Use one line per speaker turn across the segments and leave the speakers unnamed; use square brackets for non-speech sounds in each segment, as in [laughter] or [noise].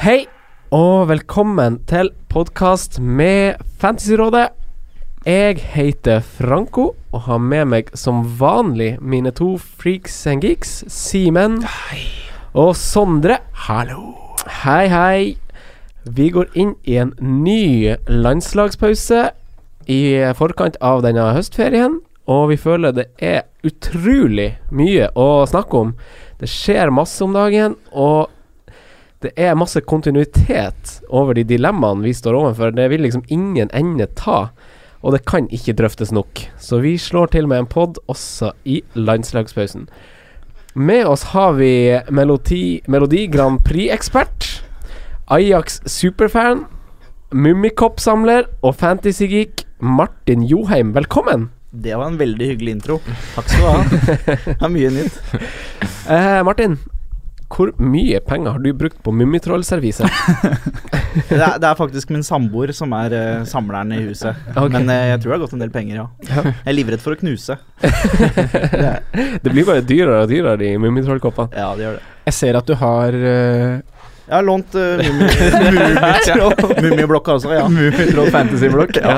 Hei og velkommen til podkast med Fantasyrådet. Jeg heter Franco og har med meg som vanlig mine to freaks and geeks, Simen og Sondre. Hallo. Hei, hei. Vi går inn i en ny landslagspause i forkant av denne høstferien, og vi føler det er utrolig mye å snakke om. Det skjer masse om dagen, og det er masse kontinuitet over de dilemmaene vi står overfor. Det vil liksom ingen ende ta, og det kan ikke drøftes nok. Så vi slår til med en pod også i landslagspausen. Med oss har vi Melodi, Melodi Grand Prix-ekspert, Ajax superfan, Mummikopp-samler og fantasygeek Martin Joheim. Velkommen!
Det var en veldig hyggelig intro. Takk skal du ha. Det er mye nytt.
Eh, Martin, hvor mye penger har du brukt på Mummitroll-serviset?
Det er, det er faktisk min samboer som er eh, samleren i huset.
Ok.
Men eh, jeg tror det har gått en del penger, ja.
Ja.
Jeg er livredd for å knuse.
det blir bare dyrere og dyrere, de Mummitroll-koppene.
Ja, det gjør det.
Jeg ser at du har eh,
Jeg har lånt uh, mummiblokka også, ja.
Mummitroll Fantasy-blokk.
Ja.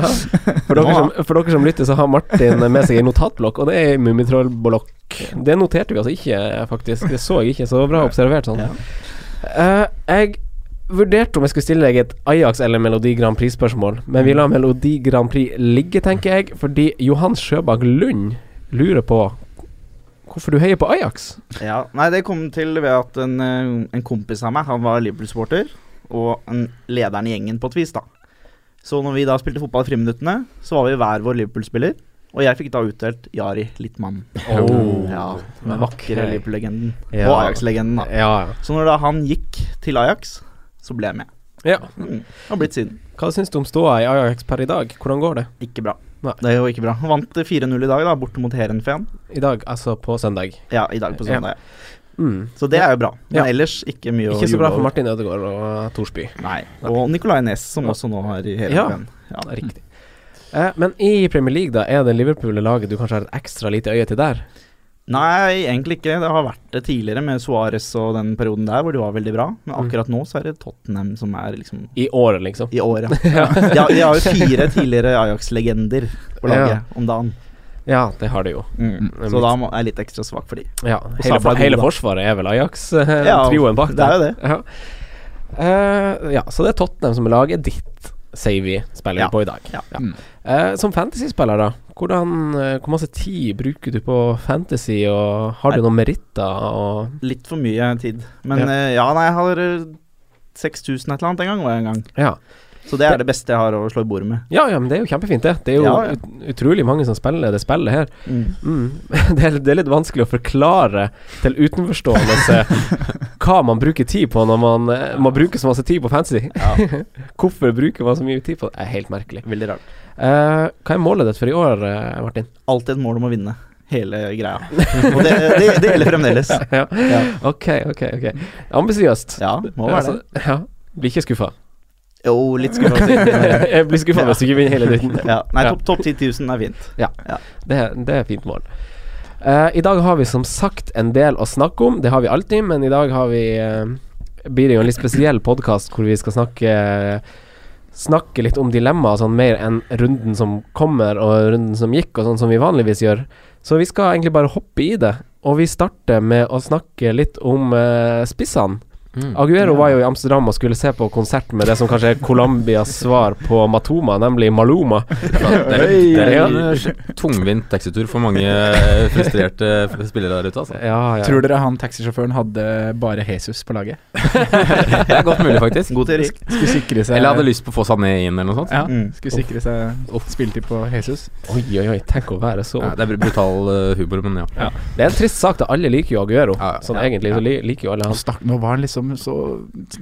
For, dere som, for dere som lytter, så har Martin med seg en notatblokk, og det er en Mummitroll-blokk. Det noterte vi altså ikke, faktisk. Det så jeg ikke, så bra observert sånn.
Ja.
Eh, jeg vurderte om jeg skulle stille deg et Ajax eller Melodi Grand Prix-spørsmål, men vi lar Melodi Grand Prix ligge, tenker jeg, fordi Johan Sjøbakk Lund lurer på hvorfor du heier på Ajax.
ja. Nei, det kom til ved at en, eh, en kompis av meg, han var Liverpool-supporter, og en lederen i gjengen på et vis, da. Så når vi da spilte fotball i friminuttene, så var vi hver vår Liverpool-spiller, og jeg fikk da utdelt Jari Littmann.
Oh.
Ja, den
Vakre.
vakre Liverpool-legenden.
Ja.
Og Ajax-legenden, da.
Ja,
Så når da han gikk til Ajax, så ble jeg med.
ja.
Mm. Har blitt siden.
Hva syns du om ståa i Ajax per i dag? Hvordan går det
Ikke bra.
Nei.
Det er jo ikke bra. Han Vant 4-0 i dag, da, borte mot Heerenveen.
i dag, altså på søndag?
Ja, i dag på
Ja.
søndag.
Mm.
Så det er jo bra. Men
Ja.
ellers ikke mye å
Ikke så bra for
juble over.
Martin Ødegaard og Thorsby.
Nei. Og Nicolay Næss, som også nå har i Heerenveen. Ja.
Det er Riktig. Eh, men i Premier League, da, er det Liverpool-laget du kanskje har et ekstra lite øye til der?
Nei, egentlig ikke. Det har vært det tidligere med Suárez og den perioden der hvor de var veldig bra. Men
Mm.
akkurat nå så er det Tottenham som er liksom
I året, liksom? [laughs]
i året. Ja. De, har, de har jo fire tidligere Ajax-legender på laget
Ja.
om dagen.
Ja, det har det jo.
Mm.
Mm.
Så da må- er jeg litt ekstra svak for de.
Ja, hele,
Stabæk
for,
god,
hele
da.
forsvaret er vel
Ja,
Ajax-trioen bak
det er jo det.
Ja. Eh, ja, så det er Tottenham som er laget ditt, sier vi, spiller
Ja.
vi på i dag.
Ja.
Mm.
Eh, som fantasyspiller, da, hvordan, eh, hvor masse tid bruker du på fantasy, og har du noen meritter? Og
Litt for mye tid. Men
Ja.
ja, ja nei, jeg har eh, 6000 et eller annet en gang, var jeg en gang.
ja.
Så det er det beste jeg har å slå i bordet med.
Ja, ja, men det er jo kjempefint, det. Det er jo
Ja, ja.
ut- utrolig mange som spiller det spillet her.
Mm.
Mm. [laughs] Det, er, det er litt vanskelig å forklare til utenforstående hva man bruker tid på når man, eh, man bruker så masse tid på fantasy. [laughs] Hvorfor bruker man så mye tid på det? Det er helt merkelig.
Veldig rart.
Eh, hva er målet ditt for i år, eh, Martin?
Alltid et mål om å vinne hele
[laughs]
greia. Og det, det, det gjelder fremdeles.
ja.
Ja.
Ok, ok, ok. Ambisiøst.
Ja, må være det.
Altså, ja. Blir ikke skuffa.
Jo, litt skuffa. sikkert.
[laughs]
[laughs]
Jeg blir skuffa
Ja.
hvis du ikke vinner hele dritten.
Ja. Nei,
Ja.
topp top 10 000 er fint.
Det, det er et fint mål. Eh, I dag har vi som sagt en del å snakke om. Det har vi alltid, men i dag har vi eh, blir det jo en litt spesiell podkast hvor vi skal snakke Snakke litt om dilemmaer sånn mer enn runden som kommer og runden som gikk, og sånn som vi vanligvis gjør. Så vi skal egentlig bare hoppe i det. Og vi starter med å snakke litt om eh, spissene. Aguero var jo i Amsterdam og skulle se på konsert med det som kanskje er Colombias svar på Matoma, nemlig Maluma.
Det er,
Oi.
det er en eh, tungvint taxitur for mange eh, frustrerte f- spillere der ute, [laughs] altså.
Ja, ja.
Tror dere han taxisjåføren hadde bare Jesus på laget?
Det er godt mulig, faktisk.
God teori.
Skulle sikre seg
Eller hadde lyst på å få Sané inn, eller noe sånt.
ja,
Mm.
Skulle sikre seg spilletid på Jesus.
Oi, oi, oi, tenk å være så
Ja, det er br- brutal eh, humor, men ja.
Det er en trist sak, da. Alle liker jo Aguero.
Ja, ja.
Sånn
Ja,
egentlig
ja.
så li liker jo alle
Og
han.
stak, nå var han liksom så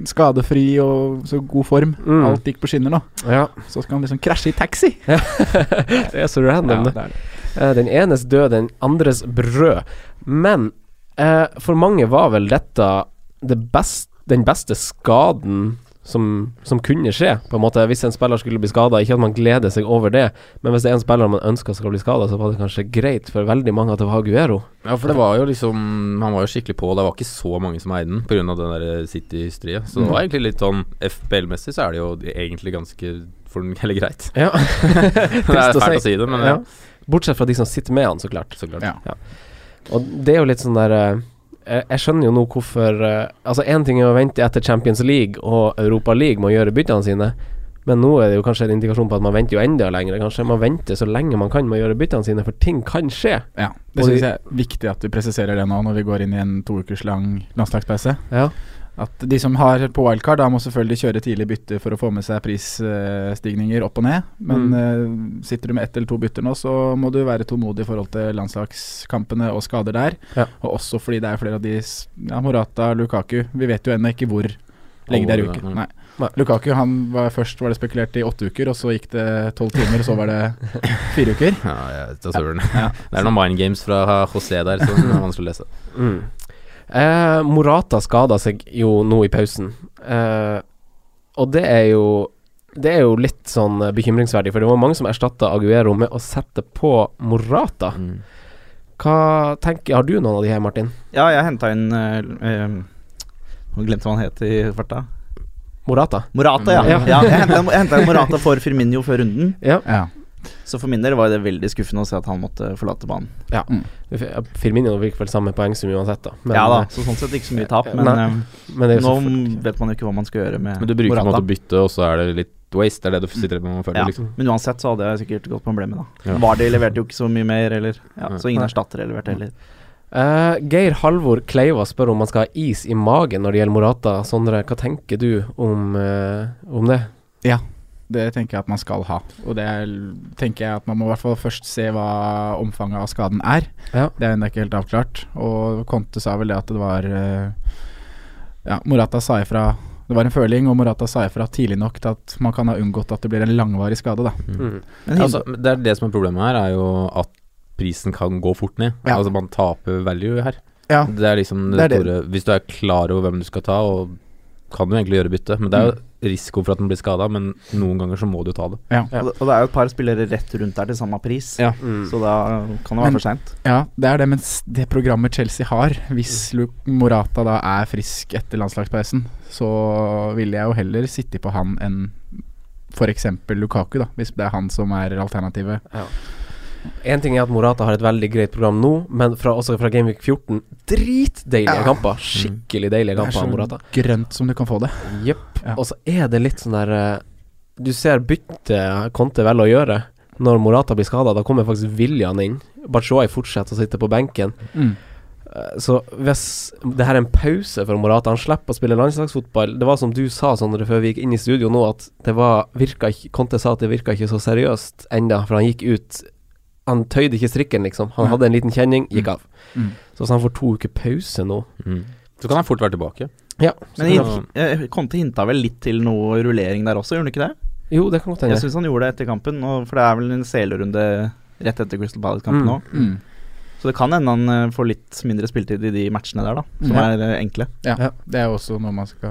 skadefri og så god form.
Mm.
Alt gikk på skinner nå.
Ja.
Så skal han liksom krasje i taxi!
[laughs] Det er så random, det.
det er det.
Eh, Den enes død, den andres brød. Men eh, for mange var vel dette det best, den beste skaden som, som kunne skje, på en måte. Hvis en spiller skulle bli skada, ikke at man gleder seg over det, men hvis det er en spiller man ønsker skal bli skada, så var det kanskje greit for veldig mange at det var Aguero.
Ja, for det var jo liksom Han var jo skikkelig på. Det var ikke så mange som eide den pga. det der City-hysteriet. Så det var egentlig litt sånn FPL-messig så er det jo egentlig ganske for den hele greit. [laughs]
[laughs] Ja.
Det er fælt å si det, men ja.
Ja. eh, Bortsett fra de som sitter med han, så klart.
Så klart.
Ja.
Og det er jo litt sånn der eh, Jeg skjønner jo nå hvorfor eh, Altså, én ting er å vente etter Champions League og Europa League med å gjøre byttene sine, men nå er det jo kanskje en indikasjon på at man venter jo enda lenger. Kanskje man venter så lenge man kan med å gjøre byttene sine, for ting kan skje.
Ja, Det
Og de-
syns jeg er viktig at vi presiserer det nå når vi går inn i en to ukers lang landslagspause.
Ja.
At de som har på wildcard, da må selvfølgelig kjøre tidlig bytte for å få med seg prisstigninger opp og ned. Men
Mm.
eh, sitter du med ett eller to bytter nå, så må du være tålmodig i forhold til landslagskampene og skader der.
Ja.
Og også fordi det er flere av de s- ja, Morata, Lukaku Vi vet jo ennå ikke hvor lenge det er i
Alvoret,
uken.
ja.
Nei.
Nei.
Lukaku han var først var det spekulert i åtte uker, og så gikk det tolv timer, og så var det fire
[laughs]
uker.
Ja, jeg vet da søren.
Ja.
Det er noen mind games fra José der som er vanskelig å lese.
Mm. Eh, Morata skada seg jo nå i pausen, eh, og det er jo det er jo litt sånn eh, bekymringsverdig, for det var mange som erstatta Aguero med å sette på Morata.
Mm.
Hva tenker, Har du noen av de her, Martin?
Ja, jeg henta inn eh, eh, Nå glemte jeg hva han het i farta.
Morata?
Morata, ja.
Ja.
ja. jeg henta- jeg henta inn Morata for Firmino før runden.
Ja.
Ja.
Så for min del var det veldig skuffende å se at han måtte forlate banen.
Firmino fikk vel samme poengsum uansett, da. Men, eh,
ja da, så sånn sett ikke så mye tap, men
Nei. men
eh,
det er jo
nå
så fort.
vet man jo ikke hva man skal gjøre med
Men du bruker på en måte
Morata.
å bytte, og så er det litt waste. Det er det du sitter med og føler,
Ja.
liksom.
Men uansett så hadde jeg sikkert gått på emblemet, da.
Ja.
Vardy leverte jo ikke så mye mer, eller ja,
Nei.
Så
Nei.
ingen erstattere leverte heller.
Eh, Geir Halvor Kleiva spør om man skal ha is i magen når det gjelder Morata. Sondre, hva tenker du om, eh, om det?
Det tenker jeg at man skal ha. Og det er, tenker jeg at man må i hvert fall først se hva omfanget av skaden er.
Ja.
Det er ennå ikke helt avklart. Og Conte sa vel det at det var eh, Ja, Morata sa ifra Det var en føling, og Morata sa ifra tidlig nok til at man kan ha unngått at det blir en langvarig skade, da.
Mm.
Men
altså, det er det som er problemet her, er jo at prisen kan gå fort ned.
Ja.
Altså Man taper value her.
Ja.
Det er liksom det,
Det er det.
store Hvis du er klar over hvem du skal ta, og kan du egentlig gjøre bytte. Men det er jo risiko for at den blir skada, men noen ganger så må du ta det.
Ja.
Og det- og det er jo et par spillere rett rundt der til samme pris,
Ja.
Mm.
så da kan det
Men-
være for seint.
Ja, det er det, men s- det programmet Chelsea har Hvis Luke Morata da er frisk etter landslagspausen, så ville jeg jo heller sitte på han enn f.eks. Lukaku, da, hvis det er han som er alternativet.
En ting er at Morata har et veldig greit program nå, men fra, også fra Gameweek 14 dritdeilige
Ja.
kamper. Skikkelig deilige kamper av Morata.
grønt som du kan få det.
Jepp.
Ja.
Og så er det litt sånn der eh, Du ser byttet Conte velger å gjøre. Når Morata blir skada, da kommer faktisk William inn. Batshuayi fortsetter å sitte på benken.
Mm,
Eh, Så hvis det her er en pause for Morata, han slipper å spille landslagsfotball Det var som du sa Sondre, før vi gikk inn i studio nå, at det var virka ikke, Conte sa at det virka ikke så seriøst enda for han gikk ut Han tøyde ikke strikken, liksom. Han
Nei.
hadde en liten kjenning, gikk av.
Mm.
Så hvis han får to uker pause nå
Så kan han fort være tilbake.
Ja. så kan
Men
i-
han-
hint- eh, Conte hinta vel litt til noe rullering der også, gjorde han ikke det?
jo, det kan godt
Jeg
hende.
syns han gjorde det etter kampen, og for det er vel en CL-runde rett etter Crystal Palace-kampen
Mm.
nå. Så det kan hende han eh, får litt mindre spiltid i de matchene der, da, som
Ja.
er eh, enkle.
Ja,
Ja.
det er jo også noe man skal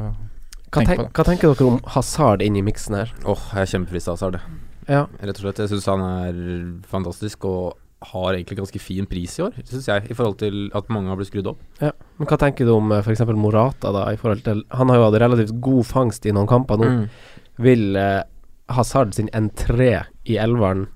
Hva,
tenk på
tenk, hva tenker dere om Hazard inn i miksen her?
Åh, jeg er kjempefrista av Sard,
Ja.
rett og slett. Jeg syns han er fantastisk, og har egentlig ganske fin pris i år, syns jeg, i forhold til at mange har blitt skrudd opp.
Men hva tenker du om f.eks. Morata, da, i forhold til Han har jo hatt relativt god fangst i noen kamper nå. Vil eh, Hazard sin entré i elveren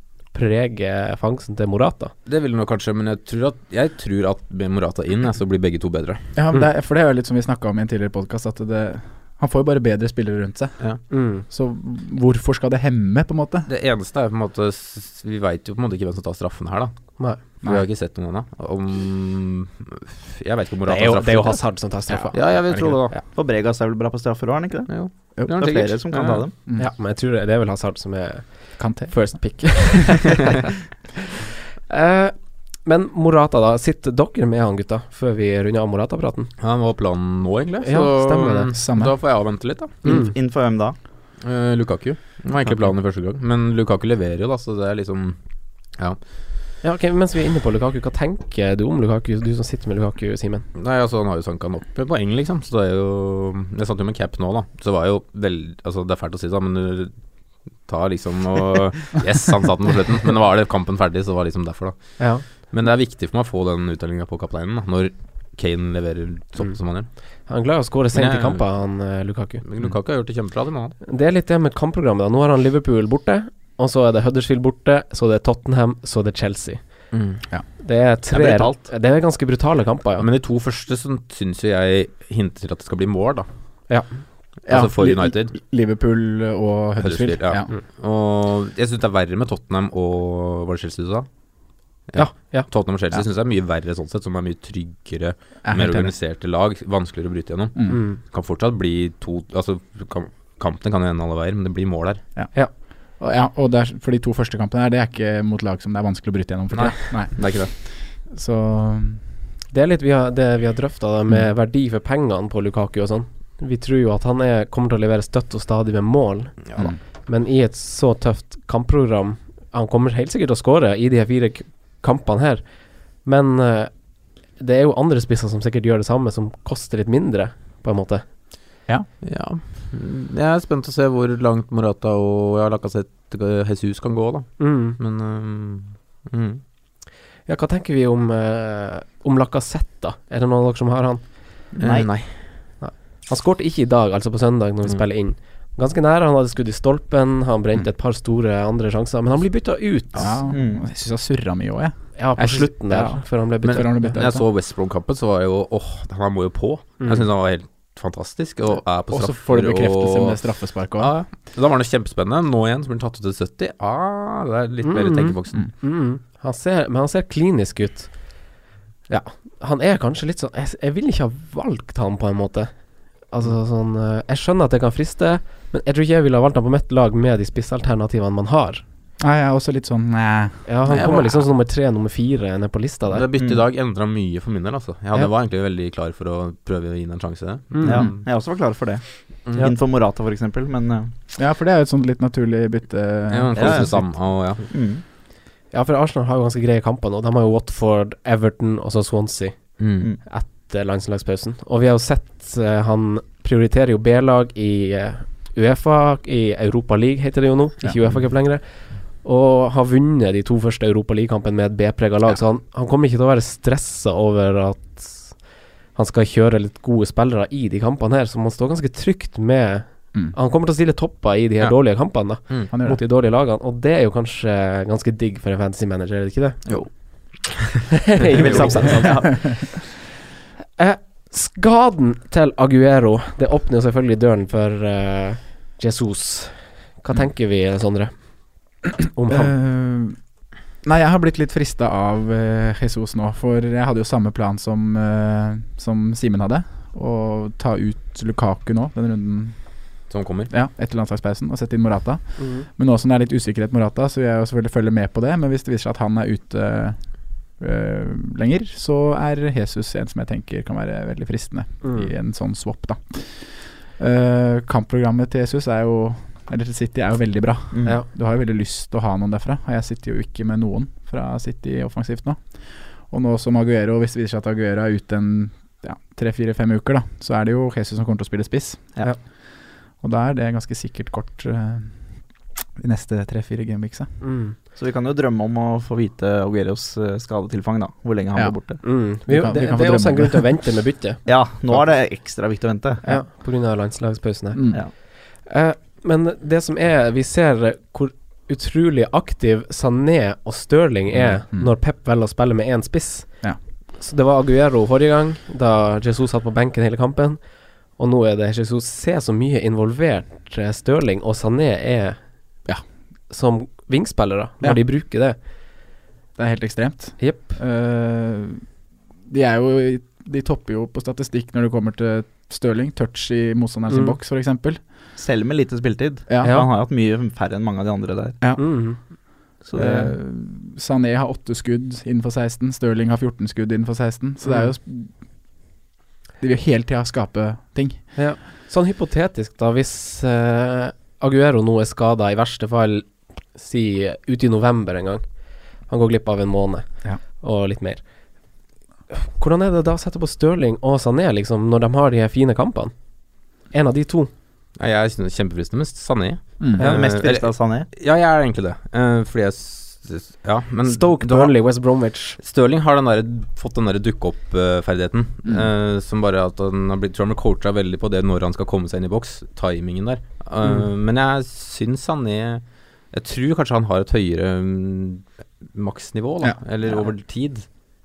prege fangsten til Morata?
Det vil han nok kanskje, men jeg tror at, jeg tror at med Morata inn, ja, så blir begge to bedre.
Ja, men
Mm.
det er, for det er jo litt som vi snakka om i en tidligere podkast, at det Han får jo bare bedre spillere rundt seg,
Mm.
så hvorfor skal det hemme, på en måte?
Det eneste er på en måte s- Vi veit jo på en måte ikke hvem som tar straffen her, da.
Nei.
Vi har ikke sett noen ennå. Om Jeg veit ikke
Det,
om Morata
er jo,
straffer
det er jo
eller
Hazard som tar straffa.
ikke. Ja, jeg vil
Er det
tro det, da.
For Bregas er vel bra på straffer òg, er han ikke det?
Jo.
Jo,
Ja,
Det er flere
sikkert.
som kan
Ja,
ta
ja.
dem.
Mm.
Ja, men jeg tror det, det er vel Hazard som er
Kan til.
first [laughs] pick. Eh, men Morata, da. Sitter dere med han, gutta, før vi runder av Morata-praten?
Han var planen nå, egentlig.
Ja, stemmer det.
Samme.
Da får jeg avvente litt, da.
Inn,
Mm.
Innenfor hvem da?
Eh, Lukaku var egentlig planen i første gang, men Lukaku leverer jo, da, så det er liksom Ja.
Ja, ok, Mens vi er inne på Lukaku, hva tenker du om Lukaku, du som sitter med Lukaku, Simen?
Nei, altså Han har jo sanka han opp i poeng, liksom. Så det er jo Jeg satt jo med cap nå, da. Så var jo veldig Altså, det er fælt å si det, da, men du tar liksom og
[laughs]
Yes, han satt den på slutten, men var det kampen ferdig, så var det liksom derfor, da.
Ja.
Men det er viktig for meg å få den uttellinga på kapteinen, da, når Kane leverer sånn
Mm.
som han gjør.
Han er glad i å skåre sent i
Ja.
kamper, han eh, Lukaku.
Mm.
Men Lukaku har gjort det kjempebra, det må han.
Det er litt det med kampprogrammet. da Nå har han Liverpool borte, og så er det Huddersfield borte, så det er Tottenham, så det er Chelsea.
Mm.
Det er tre
Det er brutalt.
Det er ganske brutale kamper, ja.
Men de to første så syns jo jeg hinter til at det skal bli mål, da.
Ja.
Altså for
Li-
United.
Liverpool og Huddersfield.
Huddersfield, ja.
ja.
Og jeg syns det er verre med Tottenham og Var det Chelsea du sa?
ja, ja.
Tottenham og Chelsea
Ja.
synes jeg er mye verre sånn sett, som er mye tryggere,
Jeg er
mer
helt enig.
organiserte lag. Vanskeligere å bryte gjennom.
Mm.
Mm.
Kan fortsatt bli to Altså, kam- kampene kan jo ende alle veier, men det blir mål her.
Og- Ja, og det er, for de to første kampene her, det er ikke mot lag som det er vanskelig å bryte gjennom. For
Nei.
tida. Nei.
Det er ikke det.
Så
Det er litt vi har, det vi har drøfta, da,
Mm.
med verdi for pengene på Lukaku og sånn. Vi tror jo at han er, kommer til å levere støtt og stadig med mål,
Ja da.
Mm.
men i et så tøft kampprogram Han kommer helt sikkert til å skåre i de her fire k kampene her, men eh, det er jo andre spisser som sikkert gjør det samme, som koster litt mindre, på en måte.
Ja. Mm, Jeg er spent å se hvor langt Morata og ja, Lacassette Jesus kan gå, da.
Mm.
Men øhm, mm.
Ja, hva tenker vi om, uh, om Lacassette, da? Er det noen av dere som har han?
Nei.
Eh, nei.
Han skårte ikke i dag, altså på søndag, når vi
Mm.
spiller inn. Ganske nære. Han hadde skudd i stolpen, han brente et par store andre sjanser, men han blir bytta ut.
Mm. ja,
Mm.
jeg syns jeg surra mye òg, jeg.
Ja, på
Jeg synes-
slutten der,
ja.
før han ble
Men-
bytta
Før
ut.
han ble
Når jeg
bytta ut.
så West Brom-kampen, så var jeg jo åh, han må jo på.
Mm.
Jeg syns han var helt fantastisk, og er på
Og så
straffer.
får du bekreftelse
og-
med det straffesparket òg.
Ja, ja. Da var det kjempespennende. Nå igjen så blir han tatt ut til 70. Ah, det er litt mer
Mm.
tenkeboksen.
Mm. Han ser, men han ser klinisk ut. Ja. Han er kanskje litt sånn Jeg, jeg ville ikke ha valgt han, på en måte. Altså sånn eh, Jeg skjønner at det kan friste, men jeg tror ikke jeg ville ha valgt han på mitt lag med de spissalternativene man har.
Nei, jeg er også litt sånn eh,
Ja, Han
Nei, jeg
kommer
var-
liksom som nummer tre, nummer fire ned på lista
Det
der.
byttet i
Mm.
dag endra mye for min del, altså. Jeg hadde,
Ja.
var egentlig veldig klar for å prøve å gi den en sjanse.
Mm.
Ja,
Mm.
jeg også var klar for det.
Mm.
Innenfor Morata, for eksempel, men eh,
Ja, for det er jo et sånt litt naturlig bytte.
Ja, men
Ja, ja.
forholdsvis samme, og ja.
mm.
Ja, for Arsenal har jo ganske greie kamper nå. De har jo Watford, Everton og så Swansea
Mm.
etter landslagspausen. Og vi har jo sett eh, han prioriterer jo B-lag i eh, Uefa, i Europa League heter det jo nå, ikke
Ja.
Uefa Cup lenger. Og har vunnet de to første Europa League-kampene med et B-prega lag, så han, han kommer ikke til å være stressa over at han skal kjøre litt gode spillere i de kampene her, så man står ganske trygt med
Mm.
Han kommer til å stille topper i de her
Ja.
dårlige kampene, da,
Mm.
Han gjør
mot
det.
de dårlige lagene, og det er jo kanskje ganske digg for en fantasy manager, er det ikke det? [laughs]
Jo.
I vill sammenheng. [laughs] Eh, Skaden til Aguero Det åpner jo selvfølgelig døren for eh, Jesus. Hva
Mm.
tenker vi, Sondre, om ham?
Eh, nei, jeg har blitt litt frista av eh, Jesus nå, for jeg hadde jo samme plan som, eh, som Simen hadde. Å ta ut Lukaku nå, den runden
Som kommer.
ja, etter landslagspausen, og sette inn Morata.
Mm.
Men nå som det er litt usikkerhet med Morata, så vil jeg jo selvfølgelig følge med på det. Men hvis det viser seg at han er ute øh, lenger, så er Jesus en som jeg tenker kan være veldig fristende
Mm.
i en sånn swap, da. Eh, kampprogrammet til Jesus er jo Eller til City er jo veldig bra.
Mm.
Ja.
Du har jo veldig lyst til å ha noen derfra, og jeg sitter jo ikke med noen fra City offensivt nå. Og nå som Aguero, hvis det viser seg at Aguero er ute en ja, tre-fire-fem uker, da, så er det jo Jesus som kommer til å spille spiss.
Ja.
Og da er det ganske sikkert kort eh, de neste tre-fire gameweeksa.
Mm.
Så vi kan jo drømme om å få vite Agueros eh, skadetilfang, da. Hvor lenge han
Ja.
var borte.
Mm.
Vi
Jo,
kan- vi
det,
kan få
det er også
drømme om
en grunn
det.
til å vente med
[laughs]
byttet,
Ja, nå er det ekstra viktig å vente.
ja. pga. landslagspausen. her.
Mm.
Ja.
Eh, men det som er Vi ser eh, hvor utrolig aktiv Sané og Stirling er
Mm.
når Pep velger å spille med én spiss.
Ja.
Så det var Aguero forrige gang, da Jesus satt på benken hele kampen. Og nå er det Jesus ser så mye involvert eh, Stirling og Sané er
Ja.
som vingspillere, når
Ja.
de bruker det.
Det er helt ekstremt.
Jepp.
Eh, de er jo i- De topper jo på statistikk når det kommer til Stirling. Touch i motstanderen sin
Mm.
boks, f.eks.
Selv med lite spilletid.
Ja.
Ja.
Han har jo hatt mye færre enn mange av de andre der.
Mm.
Så det,
Eh, Sané har åtte skudd innenfor 16. Stirling har 14 skudd innenfor 16. Så det er jo sp- De vil jo hele tida skape ting.
Sånn hypotetisk, da, hvis eh, Aguero nå er skada, i verste fall si ute i november en gang Han går glipp av en måned,
Ja.
og litt mer. Hvordan er det da å sette på Stirling og Sané, liksom, når de har de her fine kampene? En av de to.
Nei, Jeg synes det er kjempefristende, men Sané
Mm.
Jeg er mest
Eh,
frista av Sané.
Ja, jeg er egentlig det. Eh, fordi jeg s- Ja, men
Stoke,
da-
Burnley, West Bromwich.
Stirling har den der, fått den der dukke-opp-ferdigheten. eh,
Mm.
som bare at han har blitt tror han blir coacha veldig på det når han skal komme seg inn i boks. Timingen der. Eh,
Mm.
Men jeg syns han er Jeg tror kanskje han har et høyere mm, maksnivå, da.
Ja.
Eller
Ja.
over tid. Jeg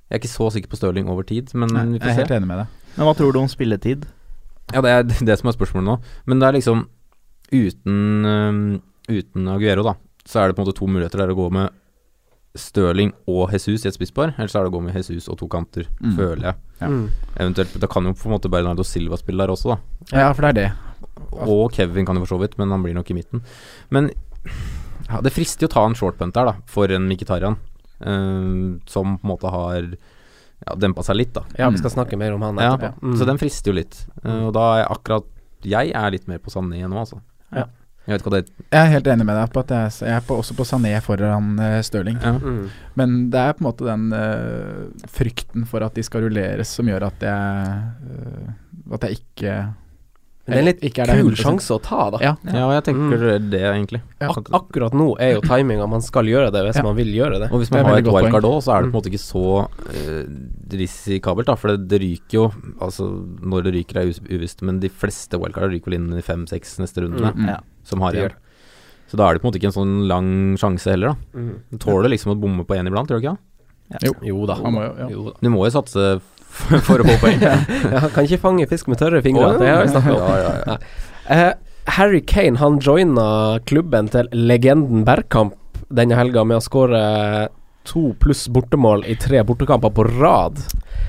er ikke så sikker på Stirling over tid, men
Nei,
vi
jeg er
får se.
helt enig med deg.
Men hva tror du om spilletid?
Ja, det er [laughs] det som er spørsmålet nå. Men det er liksom uten, øhm, uten Aguero, da, så er det på en måte to muligheter. Det er å gå med Stirling og Jesus i et spisspar, eller så er det å gå med Jesus og to kanter,
Mm.
føler jeg.
Ja.
Mm.
Eventuelt Da kan jo på en måte Bernardo Silva spille der også, da.
Ja, for det er det.
Og Kevin kan jo for så vidt, men han blir nok i midten. Men ja, det frister jo å ta en short punt der, da, for en Mkhitaryan, øhm, som på en måte har ja, dempa seg litt, da.
Ja, vi
Mm.
skal snakke mer om han
Ja,
etterpå. Mm.
Så den frister jo litt. Eh, Og da er jeg akkurat Jeg er litt mer på Sané nå, altså.
Ja.
Jeg vet ikke hva det
Jeg er helt enig med deg på at jeg, jeg er på, også på Sané foran eh, Stirling.
ja.
Mm.
Men det er på en måte den eh, frykten for at de skal rulleres som gjør at jeg eh, At jeg ikke
Men det er en litt
ikke der
kul
100%.
sjanse å ta, da.
Ja.
ja, og jeg tenker det, egentlig.
Ja.
Mm. Ak akkurat nå er jo timinga man skal gjøre det, hvis
Ja.
man vil gjøre det.
Og hvis
Det er
man har
veldig
et
godt poeng.
wildcard òg, så er
Mm.
det på en måte ikke så eh, risikabelt, da. For det, det ryker jo Altså, når det ryker er us- uvisst, men de fleste wildcard ryker vel inn i fem-seks neste runde,
Mm.
Ja.
som har
Det gjør
igjen. Så da er det på en måte ikke en sånn lang sjanse heller, da.
Mm.
Du tåler liksom å bomme på én iblant, gjør du ikke det?
Jo da.
Han må jo- ja.
Jo da.
Du må jo satse for, for å få poeng.
[laughs] Ja, han kan ikke fange fisk med tørre fingre,
Å,
det har vi snakket om.
ja, ja, ja.
Eh, Harry Kane han joina klubben til legenden Bergkamp denne helga med å skåre to pluss bortemål i tre bortekamper på rad.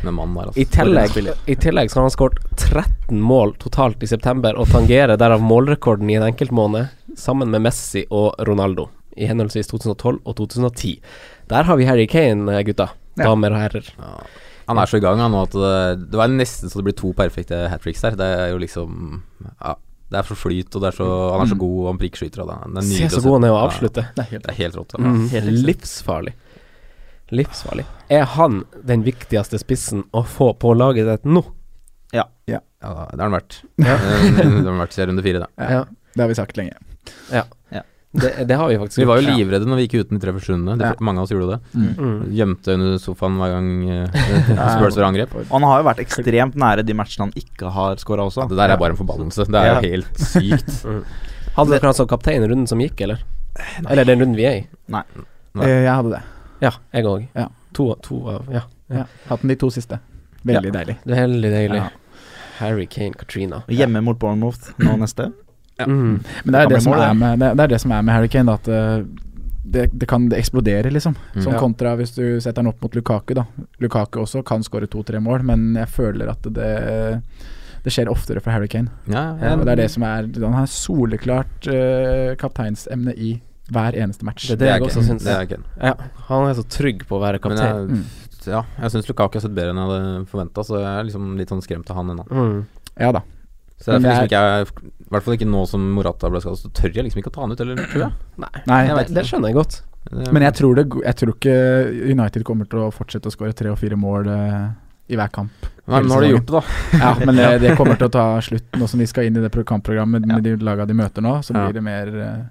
Med mannen der, altså.
I tillegg,
For en spiller.
i tillegg så har han skåret 13 mål totalt i september og tangerer derav målrekorden i en enkeltmåned sammen med Messi og Ronaldo i henholdsvis 2012 og 2010. Der har vi Harry Kane, eh, gutta.
Ja.
Damer og herrer.
Ja. Han er så i gang han, nå at det, det var nesten så det blir to perfekte hat tricks der. Det er jo liksom Ja. Det er så flyt, og det er så, han er så
Mm.
god, og han prikkeskyter, og det er, det er
Se
nydelig
så
å se.
god han er å
Ja,
avslutte.
Det er helt
Det er helt rått. altså. Ja.
Mm.
Helt riktig.
Livsfarlig. Livsfarlig. Er han den viktigste spissen å få på laget ditt nå?
Ja, det har han vært. Eh, [laughs] det har han vært siden
[laughs]
runde fire, da.
ja. Det har vi sagt lenge.
Det, det har vi faktisk
Vi var jo
gjort.
livredde når vi gikk uten de tre første rundene. De-
Ja.
Mange av oss gjorde det.
Mm.
Mm.
Gjemte under sofaen hver gang
[laughs]
eh, [laughs] Spurs var i angrep.
Og han har jo vært ekstremt nære de matchene han ikke har scora også.
Det der er bare en forbannelse. Det er
Ja.
jo
[laughs]
helt sykt.
Mm. Hadde dere han som kaptein i runden som gikk, eller? Eller den runden vi er i?
Nei.
Eh, Jeg hadde det.
Eh, Ja, jeg òg.
Ja.
To, to av Ja.
Ja. Hatt den de to siste. Veldig deilig.
Det er Veldig deilig.
Ja.
Harry Kane, Katrina.
Og Hjemme mot Bournemouth nå neste.
Mm.
Men det er
Det kan
det,
bli
som
mål,
er
det.
med, det, det er det som er med Harry Kane, da, at eh, det, det kan eksplodere, liksom.
Mm.
Som
Ja.
kontra hvis du setter han opp mot Lukaku, da. Lukaku også kan skåre to-tre mål, men jeg føler at det, det skjer oftere for Harry Kane.
Ja, ja,
Og det er det som er Han har soleklart eh, kapteinsemne i hver eneste match.
Det er det jeg også
Kane.
syns.
Det er Kane.
Ja, han er så trygg på å være
Men
kaptein.
jeg,
Mm.
ja, jeg syns Lukaku har sett bedre enn jeg hadde forventa, så jeg er liksom litt sånn skremt av han ennå.
Mm.
Ja da.
Så det er
Men
liksom
jeg-
ikke jeg, I hvert fall ikke nå som Morata ble skadet, så tør jeg liksom ikke å ta han ut, eller tror jeg. Eh,
Nei,
Jeg
Det,
vet ikke.
det skjønner jeg godt.
Det-
men jeg tror, det, go- jeg tror ikke United kommer til å fortsette å skåre tre og fire mål eh, i hver kamp.
Nei, men nå har de gjort det, da.
Ja, men det, det kommer til å ta [laughs] slutt nå som de skal inn i det pro- kampprogrammet med de laga de møter nå. Så
Ja.
blir det mer eh,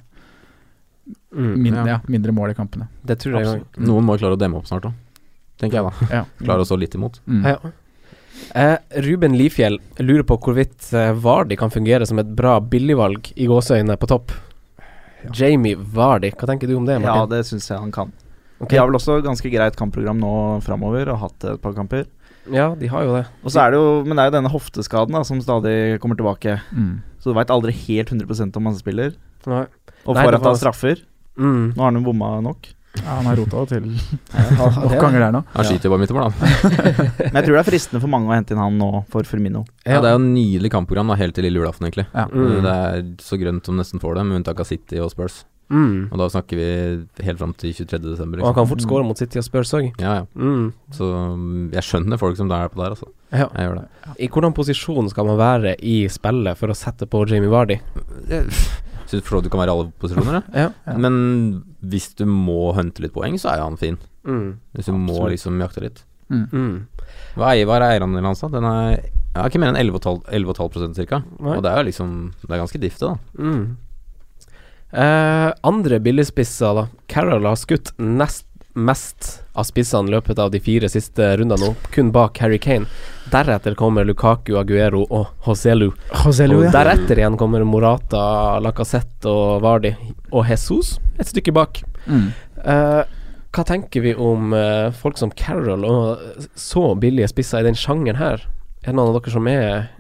Mm.
mindre,
Ja.
ja, mindre mål i kampene.
Det tror jeg òg.
Absolutt.
Noen må jo klare å demme opp snart, da. Tenker jeg, da.
Ja.
[laughs] Klare å stå litt imot.
Mm.
Ja. Eh, Ruben Lifjell lurer på hvorvidt eh, Vardi kan fungere som et bra billigvalg i gåseøynene på topp. Jamie Vardi, hva tenker du om [laughs] det,
Ja,
Martin?
det syns jeg han kan.
Ok.
De har vel også ganske greit kampprogram nå framover, og hatt et par kamper.
ja de har jo det.
Og så er det jo, Men det er jo denne hofteskaden da som stadig kommer tilbake.
Mm.
Så du veit aldri helt 100 om han spiller.
Nei.
Og
Nei,
får
det
han ta
var-
straffer.
Mm.
Nå har han jo bomma
[laughs]
nok.
[laughs] Ja, han har rota det til
det
nok
er
ganger der nå.
Han skyter jo bare midt i mål, da.
Men jeg tror det er fristende for mange å hente inn han nå for Firmino.
Ja, det er jo en nydelig kampprogram da, helt til lille julaften, egentlig. Eh,
Ja.
Mm.
Det er så grønt som nesten får det, med unntak av City og Spurs.
Mm.
Og da snakker vi helt fram til 23. desember.
Og han
Liksom.
kan fort skåre mot City og Spurs òg.
Ja, ja.
Mm.
Så mm, jeg skjønner folk som er på der, altså.
Ja.
Jeg gjør det.
I hvordan posisjon skal man være i spillet for å sette på Jamie Vardi?
Syns for så vidt du kan være i alle posisjoner, ja.
Ja.
Ja.
Men hvis du må hunte litt poeng, så er jo han fin.
Mm.
Hvis du må
Absolutt.
liksom jakte litt.
Mm.
Hva er, hva er eierandelen hans, da? Den er jeg har ikke mer enn 11,5 11,5% cirka.
Nei.
Og det er jo liksom Det er ganske difte, da.
Mm. Eh, andre billigspisser, da. Carroll har skutt nest mest av spissene i løpet av de fire siste rundene nå, kun bak Harry Kane. Deretter kommer Lukaku, Aguero og Hoselu.
Hoselu,
Og
ja.
deretter igjen kommer Morata, Lacassette og Vardi. Og Jesus et stykke bak.
Mm.
Eh, hva tenker vi om eh, folk som Carroll og så billige spisser i den sjangeren her? Er det noen av dere som er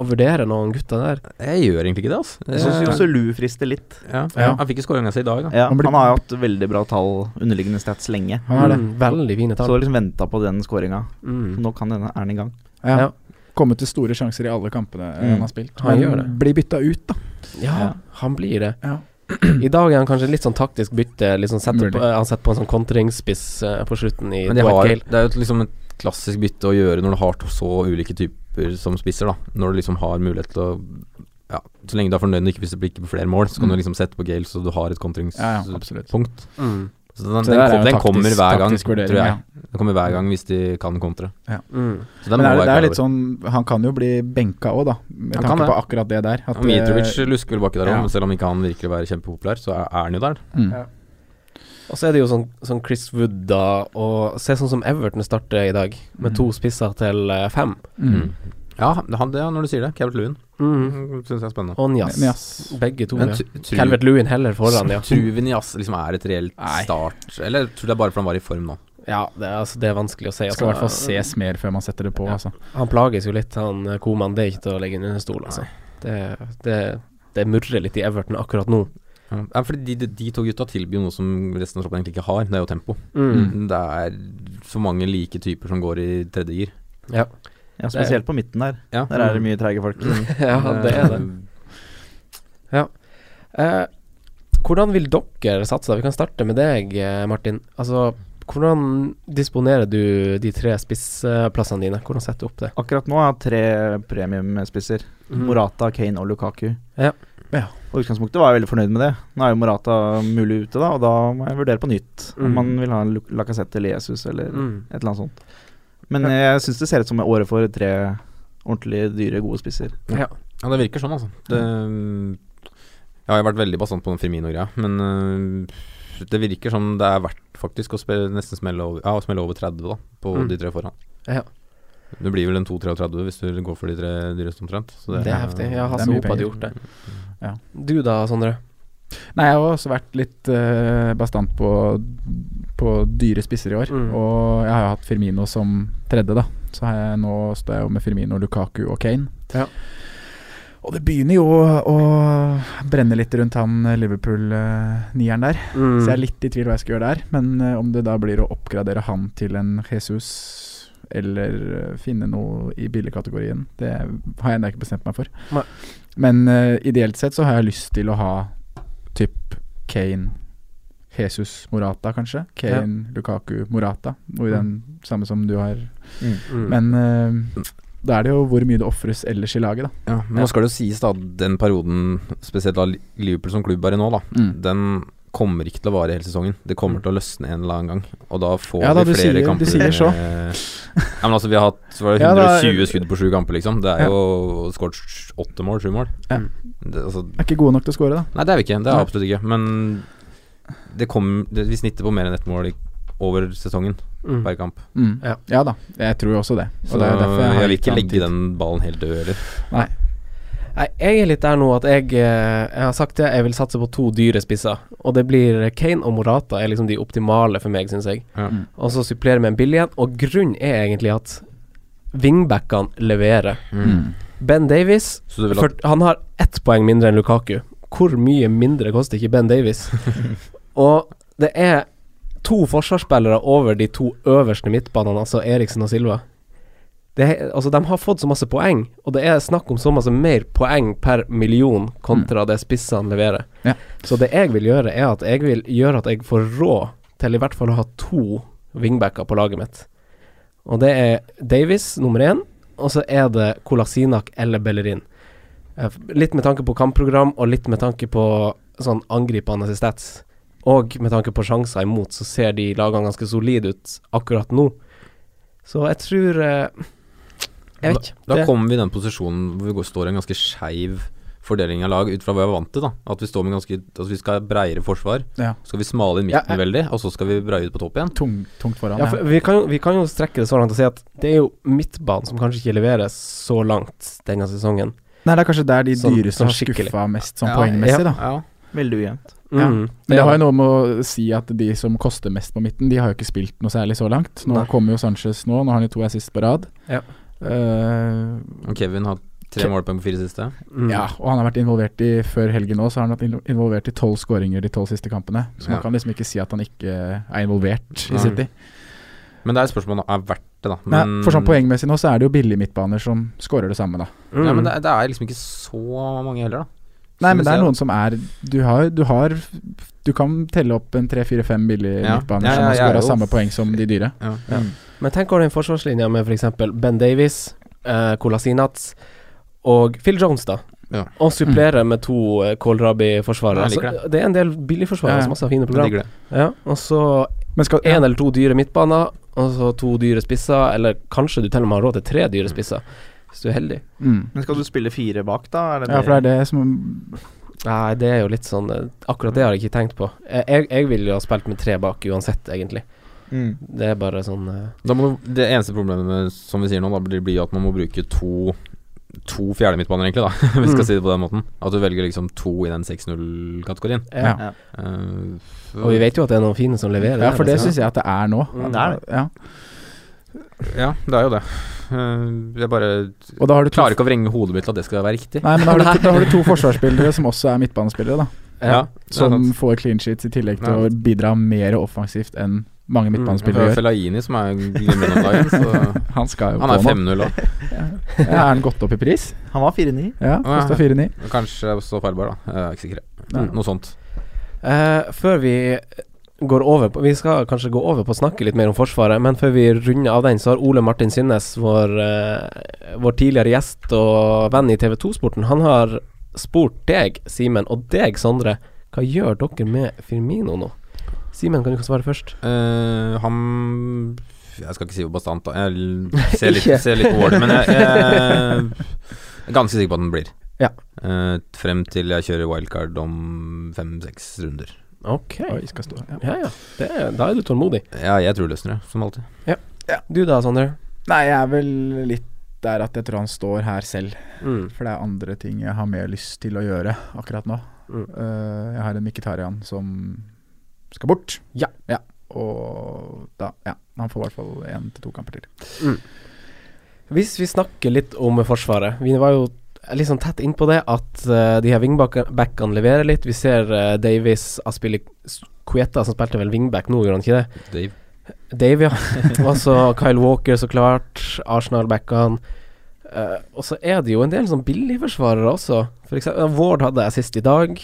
og vurderer noen gutter der?
Jeg gjør egentlig ikke det, altså.
Jeg syns
Jeg-
jo også Lu frister litt.
ja.
Ja.
Han fikk jo skåringa si i dag, da.
Ja,
Han blir-
han har jo hatt veldig bra tall, underliggende stats, lenge.
Han er det.
Mm, veldig fine
Så
tall.
du har liksom venta på den skåringa.
Mm.
Nå kan denne er den i gang.
Ja.
Ja.
Kommet til store sjanser i alle kampene eh,
Mm.
han har spilt.
Han
Men
gjør det.
Blir bytta ut, da.
Ja,
Ja.
han blir det.
Ja.
I dag er han kanskje litt sånn taktisk bytte. Liksom setter
Mulig.
på, eh, han setter på en sånn kontringsspiss eh, på slutten i
Men de
Dwight
har,
Gale.
det er jo et- liksom et klassisk bytte å gjøre når du har to så ulike typer som spisser, da. Når du liksom har mulighet til å Ja, så lenge du er fornøyd og ikke hvis det blir ikke flere mål, så kan
Mm.
du liksom sette på Gale så du har et
Ja, ja,
kontringspunkt.
absolutt.
Mm.
Så
Så
den, den,
der er
kom,
jo
den
taktisk-
kommer hver gang,
taktisk
tror
vurdering,
jeg.
ja.
Den kommer hver gang hvis de kan kontre.
Mm.
Så
Men er det,
den må være
det
klar
er
over.
litt sånn Han kan jo bli benka òg, da. Med
Han kan
tanke
det.
på akkurat det der. at,
Og Mitrovic
eh,
lusker vel baki der òg,
ja.
men selv om ikke han virker å være kjempepopulær, så er, er han jo der.
mm.
Ja.
Og så er det jo sånn, sånn Chris Wood, da, og se sånn som Everton starter i dag, med
Mm.
to spisser til eh, fem.
Mm.
Ja, han, det, ja, når du sier det. Calvert Lewin
Mm.
mm. syns jeg er spennende.
Og Njas.
Men jass.
Begge to.
Men
Ja.
tr- tru-
Calvert Lewin heller foran, ja.
Tror vi Nias liksom er et reelt
Nei.
start, eller tror du det er bare fordi han var i form nå?
Ja, det, er- altså, det er vanskelig å si.
Skal i hvert fall
Altså,
ses mer før man setter det på, altså.
han plages jo litt, han eh, Koman. Det er ikke til å legge under en stol, altså. Det, det, det murrer litt i Everton akkurat nå.
Ja, fordi de, de, de to gutta tilbyr noe som resten av troppen egentlig ikke har, det er jo tempo.
Mm.
Det er så mange like typer som går i tredje gir.
Ja, Spesielt på midten der.
Ja.
Der er det mye treige folk.
[laughs] ja, det er det. Eh, hvordan vil dere satse? da? Vi kan starte med deg, eh, Martin. Altså, hvordan disponerer du de tre spissplassene dine? Hvordan setter du opp det?
Akkurat nå har jeg tre premiumspisser.
Mm.
Morata, Kane og Lukaku.
Mhm. Ja.
Ja.
Og i utgangspunktet var jeg veldig fornøyd med det. Nå er jo Morata mulig ute, da, og da må jeg vurdere på nytt om
Mm.
man vil ha en Lu- Lacazette eller Jesus eller
Mm.
et eller annet sånt. Men jeg syns det ser ut som året for tre ordentlig dyre, gode spisser.
Ja, det virker sånn, altså. Det, jeg har jo vært veldig bastant på den Firmino-greia, men øh, det virker som det er verdt faktisk å spe- nesten smelle over, ja, å smelle over 30 da, på
Mm.
de tre foran.
Ja.
Det blir vel en 2-33 hvis du går for de tre dyreste omtrent. så
Det er heftig. Ja,
det
Hasse
er mye
Hope hadde
penger.
gjort det.
Ja.
Du da, Sondre?
Nei, jeg har også vært litt eh, bastant på, på dyre spisser i år.
Mm.
Og jeg har jo hatt Firmino som tredje, da. Så har jeg, nå står jeg jo med Firmino, Lukaku og Kane.
Ja.
Og det begynner jo å, å brenne litt rundt han Liverpool-nieren der. Så
Mm.
Mm.
jeg er litt i tvil hva jeg skal gjøre der. Men eh, om det da blir å oppgradere han til en Jesus, eller eh, finne noe i billigkategorien, det har jeg ennå ikke bestemt meg for.
Nei.
Men eh, ideelt sett så har jeg lyst til å ha typ Kane, Jesus, Morata kanskje. Kane, Lukaku, Morata.
Mm.
Og i den samme som du har.
Mm.
Men eh, da er det jo hvor mye det ofres ellers i laget, da.
Ja, men
Ja.
nå skal det jo sies da den perioden, spesielt da Li- Liverpool som klubb er i nå, da,
Mm.
den kommer ikke til å vare hele sesongen. Det kommer til å løsne en eller annen gang, og da får
Ja da,
vi
du
flere
sier-
kamper.
du sier så.
Ja, men altså, vi har hatt var det
Ja, da-
120 skudd på sju kamper, liksom. Det
Ja.
er jo skåret åtte mål, sju mål.
Ja.
Det, altså,
Er ikke gode nok til å score, da.
nei, det er vi ikke. Det er
Nei.
vi absolutt ikke. Men det kom, det, vi snitter på mer enn ett mål i, over sesongen
Mm.
per kamp.
Mm.
Ja.
Ja. da, jeg tror jo også det. Og
Så
det er jo derfor jeg
jeg,
har
vil
litt
ikke
annen
legge
tid.
den ballen helt død, eller.
Nei, jeg er litt der nå at jeg, eh, jeg har sagt det, jeg vil satse på to dyre spisser. Og det blir Kane og Morata er liksom de optimale for meg, syns jeg.
Ja.
Mm.
Og så supplere med en billig en. Og grunnen er egentlig at wingbackene leverer.
Mm.
Ben Davies
Så du vil
for,
at
Han har ett poeng mindre enn Lukaku. Hvor mye mindre koster ikke Ben Davies? og det er to forsvarsspillere over de to øverste midtbanene, altså Eriksen og Silva. Det, er- altså, de har fått så masse poeng, og det er snakk om så masse mer poeng per million kontra det spissene leverer.
Ja.
Så det jeg vil gjøre, er at jeg vil gjøre at jeg får råd til i hvert fall å ha to wingbacker på laget mitt. Og det er Davies nummer én, og så er det Kolasinak eller Bellerin. Eh, f- Litt med tanke på kampprogram, og litt med tanke på sånn angripende stats. Og med tanke på sjanser imot, så ser de lagene ganske solide ut akkurat nå. Så jeg tror eh, Jeg vet ikke.
Da
Det-
kommer vi i den posisjonen hvor vi går, står i en ganske skeiv fordeling av lag, ut fra hva vi er vant til. da At vi står med ganske Altså vi skal ha breiere forsvar,
Ja.
så skal vi smale inn midten
Ja, jeg-
veldig, og så skal vi breie ut på topp igjen.
Tung, tungt foran.
Ja, for vi, kan, jo- vi kan jo strekke det så langt og si at det er jo midtbanen som kanskje ikke leverer så langt denne sesongen.
Nei, det er kanskje der de
Sånn-
dyre
sånn
som har
skikkelig.
skuffa mest, sånn
Ja,
poengmessig, da.
Ja.
Veldig ujevnt.
Ja.
Mm.
Men det har jo noe med å si at de som koster mest på midten, de har jo ikke spilt noe særlig så langt. Nå
Nei.
kommer jo Sanchez nå, nå har han jo to assist på rad.
Ja. Mm.
Eh,
Og Kevin har tre
Ke-
målpoeng på fire siste.
Mm.
ja, og han har vært involvert i Før helgen nå, så har han vært invo- involvert i tolv skåringer de tolv siste kampene. Så man
Ja.
kan liksom ikke si at han ikke er involvert i
Nei.
City.
Men det er et spørsmål om det er verdt det, da.
Nei,
Men,
for sånn poengmessig nå så er det jo billige midtbaner som scorer det samme, da.
Mm.
Ja, men det, er- det er liksom ikke så mange heller, da.
Nei,
Så
men
vi
det er
ser-
noen som er Du har Du, har, du kan telle opp en tre-fire-fem billige
Ja.
midtbaner
Ja,
som
ja,
har
jeg er
scora
jo-
samme poeng som de dyre.
Ja.
Ja.
Men tenk over den forsvarslinja med f.eks. Ben Davies, eh, Kolasinac og Phil Jones, da.
Ja.
Og supplere med to eh, Kålrabi-forsvarere.
Jeg liker
Altså, det er en del billigforsvarere
Ja, ja.
som også har fine
Jeg
program.
digger det.
Ja, og så
Men skal
én eller to dyre midtbaner, og så to dyre spisser, eller kanskje du til og med har råd til tre dyre spisser, hvis du er heldig.
mm.
Men skal du spille fire bak, da? Er det
Ja, for det er det som
Nei, det er jo litt sånn eh, Akkurat det har jeg ikke tenkt på. Eh, Jeg, jeg ville jo ha spilt med tre bak uansett, egentlig.
Mm.
Det er bare sånn eh,
Da må, du- det eneste problemet med, som vi sier nå, da blir blir at man må bruke to To fjerde midtbaner, egentlig, da [laughs] hvis vi skal
Mm.
si det på den måten. At du velger liksom to i den 6-0-kategorien.
ja.
Ja.
Eh,
Og vi vet jo at det er noen fine som leverer.
Ja, for det
liksom.
syns jeg at det er nå.
Mm,
det er det.
Ja.
Ja, det er jo det. Eh, jeg bare
Og da har du to
klarer ikke å vrenge hodet mitt til at det skal være riktig.
[laughs] Nei, men da har, du, da har du to forsvarsspillere som også er midtbanespillere, da.
Ja.
det er
Som
sant.
får clean sheets i tillegg til
Ja.
å bidra mer offensivt enn mange
Mm.
Vi har
midtbanespillere gjør.
Fellaini som er glimrende om dagen, [laughs] så
[laughs] Han skal jo
Han er
på nå.
5-0 òg.
Ja, er han gått opp i pris?
Han var 4-9.
Ja,
ja.
kosta 4-9.
Kanskje også farbar, da. Jeg er ikke sikker.
Nei.
Noe sånt.
Eh, før vi går over på Vi skal kanskje gå over på å snakke litt mer om Forsvaret, men før vi runder av den, så har Ole Martin Synnes, vår, eh, vår tidligere gjest og venn i TV 2-sporten, han har spurt deg, Simen, og deg, Sondre, hva gjør dere med Firmino nå? Simen, kan du ikke svare først?
Eh, han Jeg skal ikke si hvor bastant, da. Jeg [laughs] l- ser litt,
Ikke.
ser litt over det, men jeg, jeg er ganske sikker på at den blir.
Ja.
Eh, frem til jeg kjører wildcard om fem-seks runder.
Ok.
Oi, skal stå. Ja.
Ja, ja. Det, er- da er du tålmodig.
Ja, jeg tror det løsner det, som alltid.
Du da, Sondre?
Nei, jeg er vel litt der at jeg tror han står her selv.
Mm.
For det er andre ting jeg har mer lyst til å gjøre akkurat nå.
Mm.
Eh, jeg har en Mkhitarian som skal bort.
Ja.
Og da Ja, han får i hvert fall én til to kamper til.
Hvis vi snakker litt om Forsvaret. Vi var jo litt sånn tett innpå det at eh, de her wingbackene leverer litt. Vi ser eh, Davies Aspille Kueta, som spilte vel wingback nå, gjorde han ikke det?
Dave.
Dave, ja. Og så Kyle Walker, så klart. Arsenal-backene. Eh, og så er det jo en del sånn billigforsvarere også. For eksempel, Ward hadde jeg sist i dag.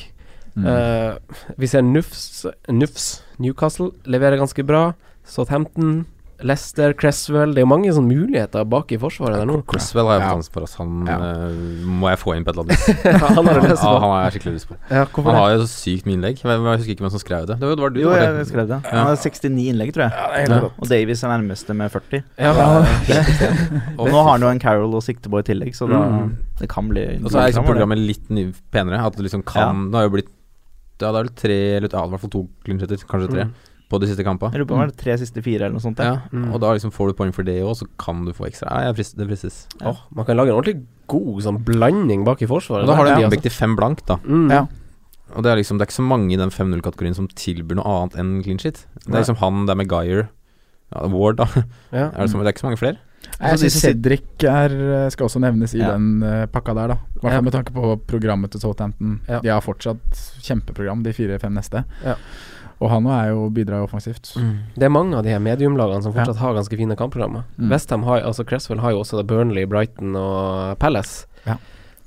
Mm.
Eh, vi ser Nufs, Nufs Newcastle leverer ganske bra. Southampton, Leicester, Cresswell Det er jo mange sånne muligheter bak i forsvaret der nå.
Cresswell har jeg
Ja.
fått ansvar for, altså. Han
Ja.
eh, må jeg få inn på et
[laughs]
eller annet vis.
han har du lyst
Ja,
på.
han har jeg skikkelig lyst på.
Ja, hvorfor
Han
det?
har jo sykt med innlegg. Jeg, jeg husker ikke hvem som skrev det. Det var, det var du,
Jo,
var det?
jeg skrev det. Han hadde 69 innlegg, tror jeg.
det
er helt
Og Davies er nærmeste med 40.
Ja, han-
Og nå har han jo en Carol og sikte på i tillegg, så da
Mm.
det kan bli
Og så er liksom programmet litt ny, penere. At du liksom kan Det har jo blitt Ja, det er vel tre eller ja, i hvert fall to klinsjetter, kanskje tre,
Mm.
på de siste kampene.
Jeg lurer på om det er tre siste fire eller noe sånt.
Mm. Ja,
Ja.
Mm.
Og da liksom får du poeng for det òg, så kan du få ekstra. Nei, jeg frist, det fristes.
Åh, man kan lage en ordentlig god sånn blanding bak i forsvaret.
Og da har du
Ja,
en
altså.
innbygg til fem blank, da.
Mm.
Ja.
Og det er liksom Det er ikke så mange i den 5-0-kategorien som tilbyr noe annet enn clinchit. Det
Nei.
er liksom han der med Guyer, ja, Ward, da.
Ja.
Er det, så, det er ikke så mange flere.
Jeg
Altså, de
syns
som sit-
Cedric er, eh, skal også nevnes i
Ja.
den eh, pakka der, da. I
Ja.
hvert fall med tanke på programmet til Southampton.
Ja.
De har fortsatt kjempeprogram, de fire-fem neste.
Ja. Mm.
Og han nå er jo bidrar jo offensivt.
Mm.
Det er mange av de her mediumlagene som
Ja.
fortsatt har ganske fine kampprogrammer.
Mm.
Westham har altså Cresswell har jo også da Burnley, Brighton og Palace
Ja.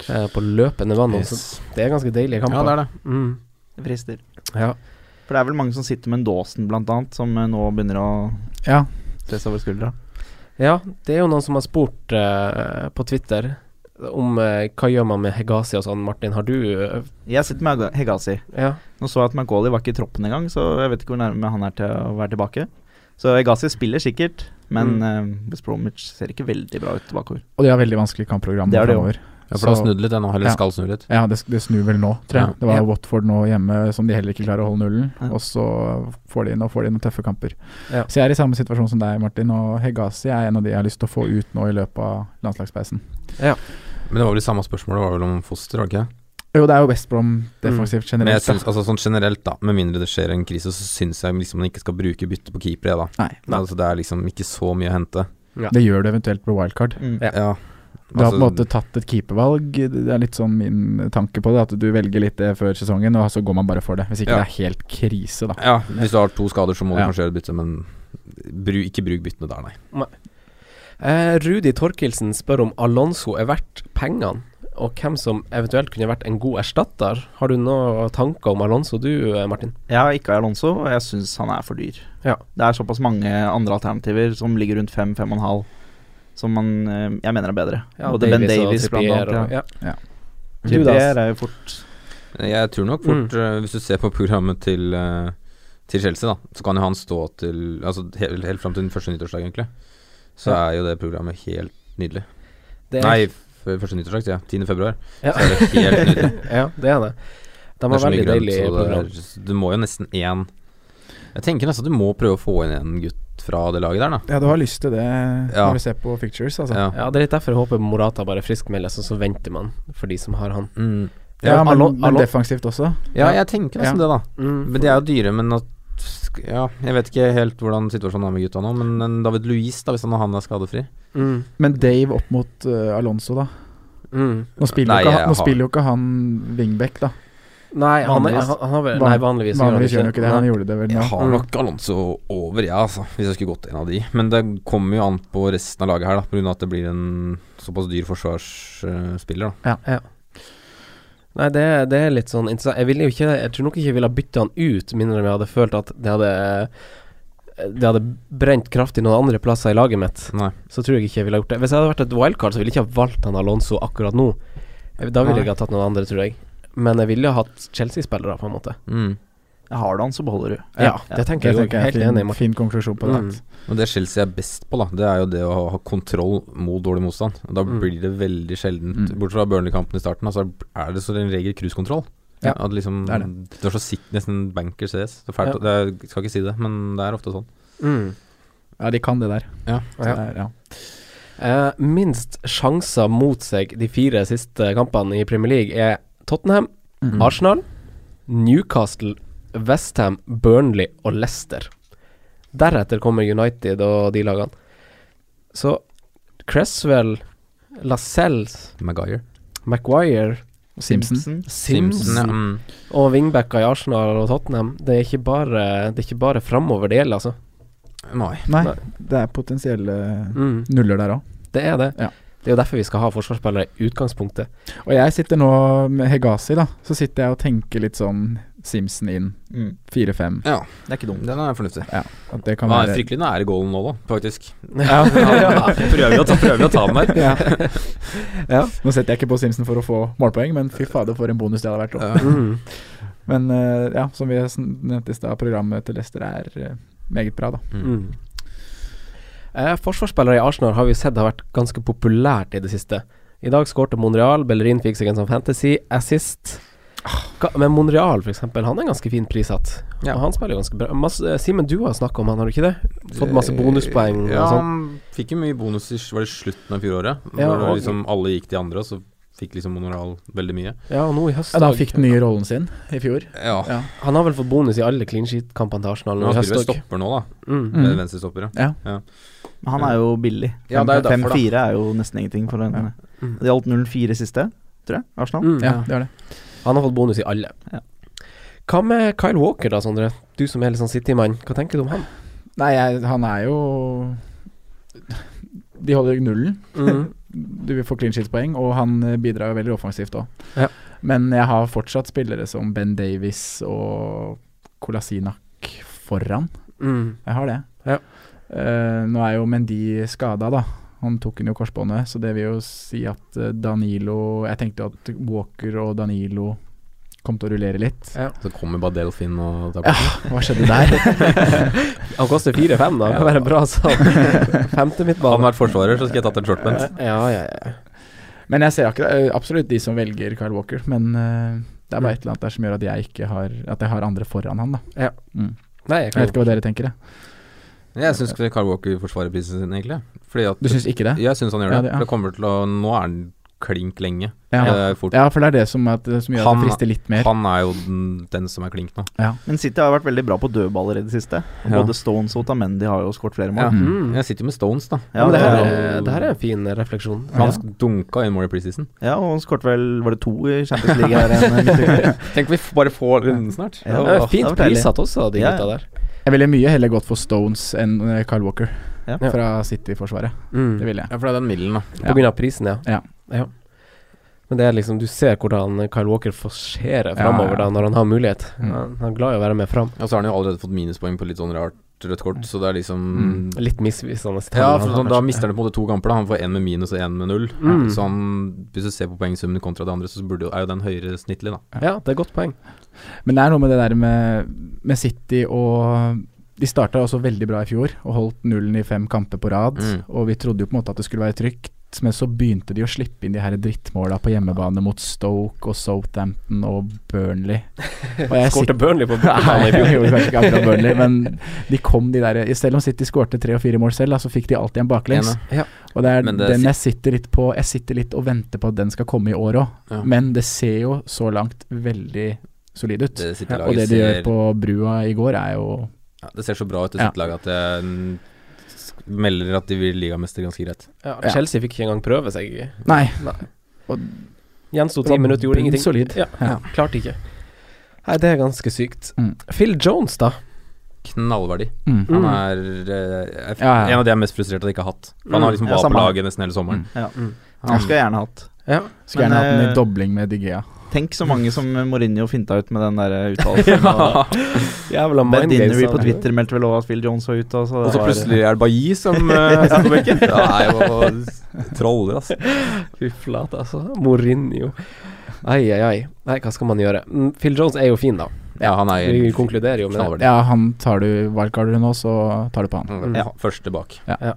eh, på løpende vann.
Yes.
Så det er ganske deilige kamper.
Ja, det er det.
Mm.
Det frister.
Ja.
For det er vel mange som sitter med en Dawson, blant annet, som eh, nå begynner å
Ja.
se seg over skuldra.
ja, det er jo noen som har spurt eh, på Twitter om eh, hva gjør man med Hegazi og sånn. Martin, har du eh,
Jeg sitter med Hega- Hegazi.
Ja.
Nå så jeg at McAuley var ikke i troppen engang, så jeg vet ikke hvor nærme han er til å være tilbake. Så Hegazi spiller sikkert, men
Mm.
eh, West Bromwich ser ikke veldig bra ut bakover.
Og de har veldig vanskelig kampprogram
Det er det jo.
fremover.
Ja, for det har
Så-
snudd litt ennå, eller
Ja.
skal snu litt.
Ja, det, det snur vel nå, tror jeg.
Ja.
Det var
Ja.
Watford nå hjemme som de heller ikke klarer å holde nullen.
Ja.
Og så får de inn og får de inn noen tøffe kamper.
Ja.
Så jeg er i samme situasjon som deg, Martin. Og Hegazi er en av de jeg har lyst til å få ut nå i løpet av landslagspausen.
Men det var vel det samme spørsmålet, det var vel om foster, var det ikke?
Jo, det er jo West Brom defensivt
Mm. Men jeg
generelt. da.
syns, altså sånn generelt, da, med mindre det skjer en krise, så syns jeg liksom man ikke skal bruke bytte på keeper, jeg, da.
Nei,
Altså, det er liksom ikke så mye å hente.
det gjør du eventuelt på wildcard.
Mm.
Ja.
Ja.
Du har på en
Altså,
måte tatt et keepervalg. Det er litt sånn min tanke på det. At du velger litt det før sesongen, og så går man bare for det. Hvis ikke
Ja.
det er helt krise, da.
Ja, hvis du har to skader, så må du
Ja.
kanskje gjøre et bytte, men bru, ikke bruk byttene der, nei.
Eh, Rudi Torkelsen spør om Alonso er verdt pengene, og hvem som eventuelt kunne vært en god erstatter. Har du noen tanker om Alonso du, eh, Martin?
Jeg har ikke Alonso, og jeg syns han er for dyr.
Ja.
Det er såpass mange andre alternativer som ligger rundt fem, fem og en halv, som man, eh, jeg mener er bedre. Både Ben Davies, blant annet.
og-
Ja.
ja.
Du,
Du, da?
er jo fort
Jeg tror nok fort,
Mm.
eh, hvis du ser på programmet til, eh, til Chelsea, da, så kan jo han stå til Altså helt, helt fram til den første nyttårsdag, egentlig. Så
Ja.
er jo det programmet helt nydelig.
Det er,
Nei, f første nyttårsdag, sier jeg. 10. februar.
[laughs] Ja.
Så er det helt
[laughs]
nydelig.
ja, det er det. De
Det
har
er så mye
veldig
grønt,
deilig
så det
program.
er- så Du må jo nesten én Jeg tenker nesten at du må prøve å få inn en gutt fra det laget der, da.
Ja, du har lyst til det
Ja.
når du ser på pictures, altså.
Ja.
Ja, det er litt derfor jeg håper Morata bare friskmeldes, og så venter man for de som har han.
Mm.
Ja,
Ja,
men,
Alon-
men
Alon-
defensivt også.
ja, jeg tenker nesten det, da.
Mm.
Men de er jo dyre, men at sk- Ja, jeg vet ikke helt hvordan situasjonen er med gutta nå, men en David Luiz, da, hvis han, han er skadefri
Mm.
Men Dave opp mot eh, Alonso, da.
Mm.
Nå spiller,
Nei,
jo, ikke
jeg
han, nå
har-
spiller jo ikke han wingback, da.
Nei, han, er-
Vanligvis.
han, han har vel
Van-
Nei, vanligvis,
Vanligvis gjør han jo ikke det. Han gjorde det vel nå.
Jeg har
Mm.
nok Alonso over, jeg, altså, hvis jeg skulle gått en av de. Men det kommer jo an på resten av laget her, da, pga. at det blir en såpass dyr forsvarsspiller, da.
Nei, det, det er litt sånn interessant. Jeg, ville jo ikke, jeg tror nok ikke jeg ville ha bytta han ut, mindre enn jeg hadde følt at det hadde det hadde brent kraftig noen andre plasser i laget mitt.
Nei.
Så tror jeg ikke jeg ville ha gjort det. Hvis jeg hadde vært et wildcard, så ville jeg ikke ha valgt han Alonso akkurat nå. Jeg- Da ville
Nei.
jeg ikke ha tatt noen andre, tror jeg. Men jeg ville ha hatt Chelsea-spillere, på en måte.
Mm.
Har du han, så beholder du.
Ja, det tenker jeg
Det
jo.
tenker jeg
Helt
er en
enig,
fin,
Martin.
fin konklusjon på det.
Mm.
Og det Chelsea er best på, da, det er jo det å ha- ha kontroll mot dårlig motstand. Og Da
Mm.
blir det veldig sjeldent
Mm.
Bortsett fra Burnley-kampen i starten, altså, er det så en regel cruisekontroll.
Ja,
At liksom,
det er
det er så sikkert nesten banker CS. Det er fælt,
Ja.
å- det er, jeg skal ikke si det, men det er ofte sånn.
Mm.
Ja, de kan det der.
Ja.
Så det er- ja.
Eh, minst sjanser mot seg de fire siste kampene i Premier League er Tottenham,
Mm.
Arsenal, Newcastle, Westham, Burnley og Leicester. Deretter kommer United og de lagene. Så Cresswell, Lascelles,
Maguire.
Maguire,
Simpson.
Sims,
Simpson, ja. Mm.
og wingbacker i Arsenal og Tottenham. Det er ikke bare, det er ikke bare framover det gjelder, altså.
Nei.
Nei,
Nei.
det er potensielle
Mm,
nuller der òg.
det er det.
Ja.
Det er jo derfor vi skal ha forsvarsspillere i utgangspunktet.
Og jeg sitter nå med Hegazi, da. Så sitter jeg og tenker litt sånn Simpson inn,
Mm.
4-5.
Det er ikke dumt.
Den er fornuftig.
At det kan
Han er
være
fryktelig nære goalen nå, da, faktisk.
[laughs]
Ja,
Han prøver å ta, prøver å ta den der.
ja.
[laughs]
Nå setter jeg ikke på Simpson for å få målpoeng, men fy fader, for en bonus det hadde vært. da.
Ja.
[laughs] mm.
Men eh, ja, som vi sn- nevnte i stad, programmet til Leicester er eh, meget bra, da.
Mm.
Mm. Eh, forsvarsspillere i Arsenal har vi sett har vært ganske populært i det siste. I dag skårte Monreal, Bellerin fikk seg en sånn fantasy assist. Ga- Men Monreal, for eksempel, han er ganske fint prissatt.
Ja.
Og han spiller ganske bra. Masse, eh, Simen, du har snakka om han, har du ikke det? Fått masse bonuspoeng
Eh, Ja,
og sånn.
han fikk jo mye bonus i var det slutten av fjoråret.
Ja,
Når
og-
liksom alle gikk til andre, og så fikk liksom Monoral veldig mye.
Ja, og nå i høst
Ja, da han fikk den nye rollen sin i fjor.
Ja.
Ja.
Han har vel fått bonus i alle clean sheet-kampene til Arsenal
Men
nå i
han
høst
spiller vel
òg.
stopper nå, da.
Mm.
Mm.
Mm. Venstrestopper, ja.
Men Han er jo billig.
Ja, det er jo derfor,
5-4
da.
er jo nesten ingenting for en eh,
Ja.
Mm.
Det gjaldt 0-4 siste, tror jeg. Arsenal.
Mm.
Ja, det var det.
Han har fått bonus i alle.
Ja.
Hva med Kyle Walker, da, Sondre? Du som er litt sånn City-mann, hva tenker du om
[laughs]
han?
Nei, jeg, han er jo De holder nullen.
Mm.
Du vil få clean sheet-poeng, og han eh, bidrar jo veldig offensivt òg.
Ja.
Men jeg har fortsatt spillere som Ben Davies og Kolasinak foran.
Mm.
Jeg har det.
Ja.
Eh, nå er jo Mendy skada, da. Han tok den jo korsbåndet, så det vil jo si at eh, Danilo Jeg tenkte at Walker og Danilo kom til å rullere litt.
Så kommer bare Delfin og tar
Ja, hva skjedde der? [laughs]
Han koster 4-5, da. Det kan være en bra sånn. Femte
Hadde han
midtbane.
vært forsvarer, så skulle jeg tatt en shortbent.
Ja, ja, ja.
Men jeg ser akkurat, eh, absolutt de som velger Kyle Walker, men eh, det er bare et eller annet der som gjør at jeg ikke har At jeg har andre foran han, da.
Nei, jeg
Jeg vet
kan
ikke hva dere tenker, jeg.
Jeg syns Carl Walker forsvarer prisen sin, egentlig. Fordi at
Du syns ikke det?
Jeg syns han gjør
Ja,
det.
det- ja.
For det kommer til å Nå er han klink lenge.
Ja.
Det er fort.
ja, for det er det som, at, som gjør at
Han-
det frister litt mer.
Han er jo den, den som er klink nå.
Men City har vært veldig bra på dødballer i det siste. Og
Ja.
Både Stones og Otamendi har jo skåret flere
Ja.
mål.
Mm.
Jeg sitter jo med Stones, da.
Ja, men
Ja,
det, her,
og-
er- det her er en fin eh, refleksjon.
Ja.
Han dunka inn mål i
[laughs]
preseason.
ja, og han skåret vel Var det to i Champions League her? En, en,
[laughs]
midtuke?
Tenk vi bare får runden snart.
Ja.
Det er
Åh,
fint
det var deilig.
prissatt også, de
Ja,
gutta der.
Jeg ville mye heller gått for Stones enn eh, Kyle Walker
Ja.
fra City-forsvaret.
Mm.
Det ville jeg.
Ja, for det er den middelen, da.
På grunn av prisen, ja.
Ja.
Men det er liksom, du ser hvordan Kyle Walker forserer framover
Ja, ja.
da, når han har mulighet.
Mm.
Han, han er glad i å være med fram.
Og så har han jo allerede fått minuspoeng på litt sånn rart rødt kort, så det er liksom
Mm.
Litt misvisende. tall,
Ja,
han
for sånn,
har kanskje.
da, da mister han på en måte to kamper. da Han får én med minus og én med null.
Mm.
Så han, hvis du ser på poengsummen kontra det andre, så burde, jo- er jo den høyere snittlig, da.
Ja, det er et godt poeng.
Men det er noe med det der med, med City og De starta også veldig bra i fjor og holdt nullen i fem kamper på rad.
Mm.
Og vi trodde jo på en måte at det skulle være trygt, men så begynte de å slippe inn de her drittmåla på hjemmebane mot Stoke og Southampton og
[laughs]
Burnley. Og jeg
Skårte Burnley på
Nei, [laughs]
bortebane i
jeg
fjor.
gjorde kanskje ikke akkurat Burnley, men de kom de der eh, Selv om City skårte tre og fire mål selv, da, så fikk de alltid en baklengs.
Ene.
Ja.
Og det er
Men det
den
sit-
jeg sitter litt på Jeg sitter litt og venter på at den skal komme i år òg,
Ja.
men det ser jo så langt veldig solid ut.
Det sitter
og det
laget
de gjør
ser
på brua i går, er jo
ja, Det ser så bra ut i
Ja.
sitt lag at jeg mm, sk- melder at de blir ligamester ganske greit.
Ja,
Ja.
Chelsea fikk ikke engang prøve seg.
Nei.
Gjensto
Det
ti
var
minutter, gjorde ingenting.
bunnsolid.
Ja,
Ja.
Klarte ikke. Nei, det er ganske sykt.
Mm.
Phil Jones, da.
Knallverdi.
Mm.
Mm.
Han er eh, er f-
Ja, ja.
en av de jeg er mest frustrert at jeg ikke har hatt. For han
Mm.
har liksom
Ja,
var
samme
på
her.
laget nesten hele sommeren.
Ja.
Mm.
Han skulle jeg gjerne hatt.
Ja.
Skulle
Men,
gjerne hatt den
eh,
i dobling med Digea.
Tenk så mange som Mourinho finta ut med den der eh,
[laughs]
uttalelsen. og-
Jævla
Ben Dinnery
mindgames. altså.
på Twitter meldte vel også at Phil Jones var ute. Og så,
Og
det
så
var-
plutselig er det Bailly som uh, sitter på benken. Det er jo troller, altså.
Fy flate, altså. Mourinho. Ai, ai, ai. Nei, hva skal man gjøre? Mm, Phil Jones er jo fin, da.
Ja, han er
Vi konkluderer jo med det.
knallverdig.
Ja, han tar du wildcarder nå, så tar du på han.
Mm,
Ja.
Første bak.
Vi-
Ja,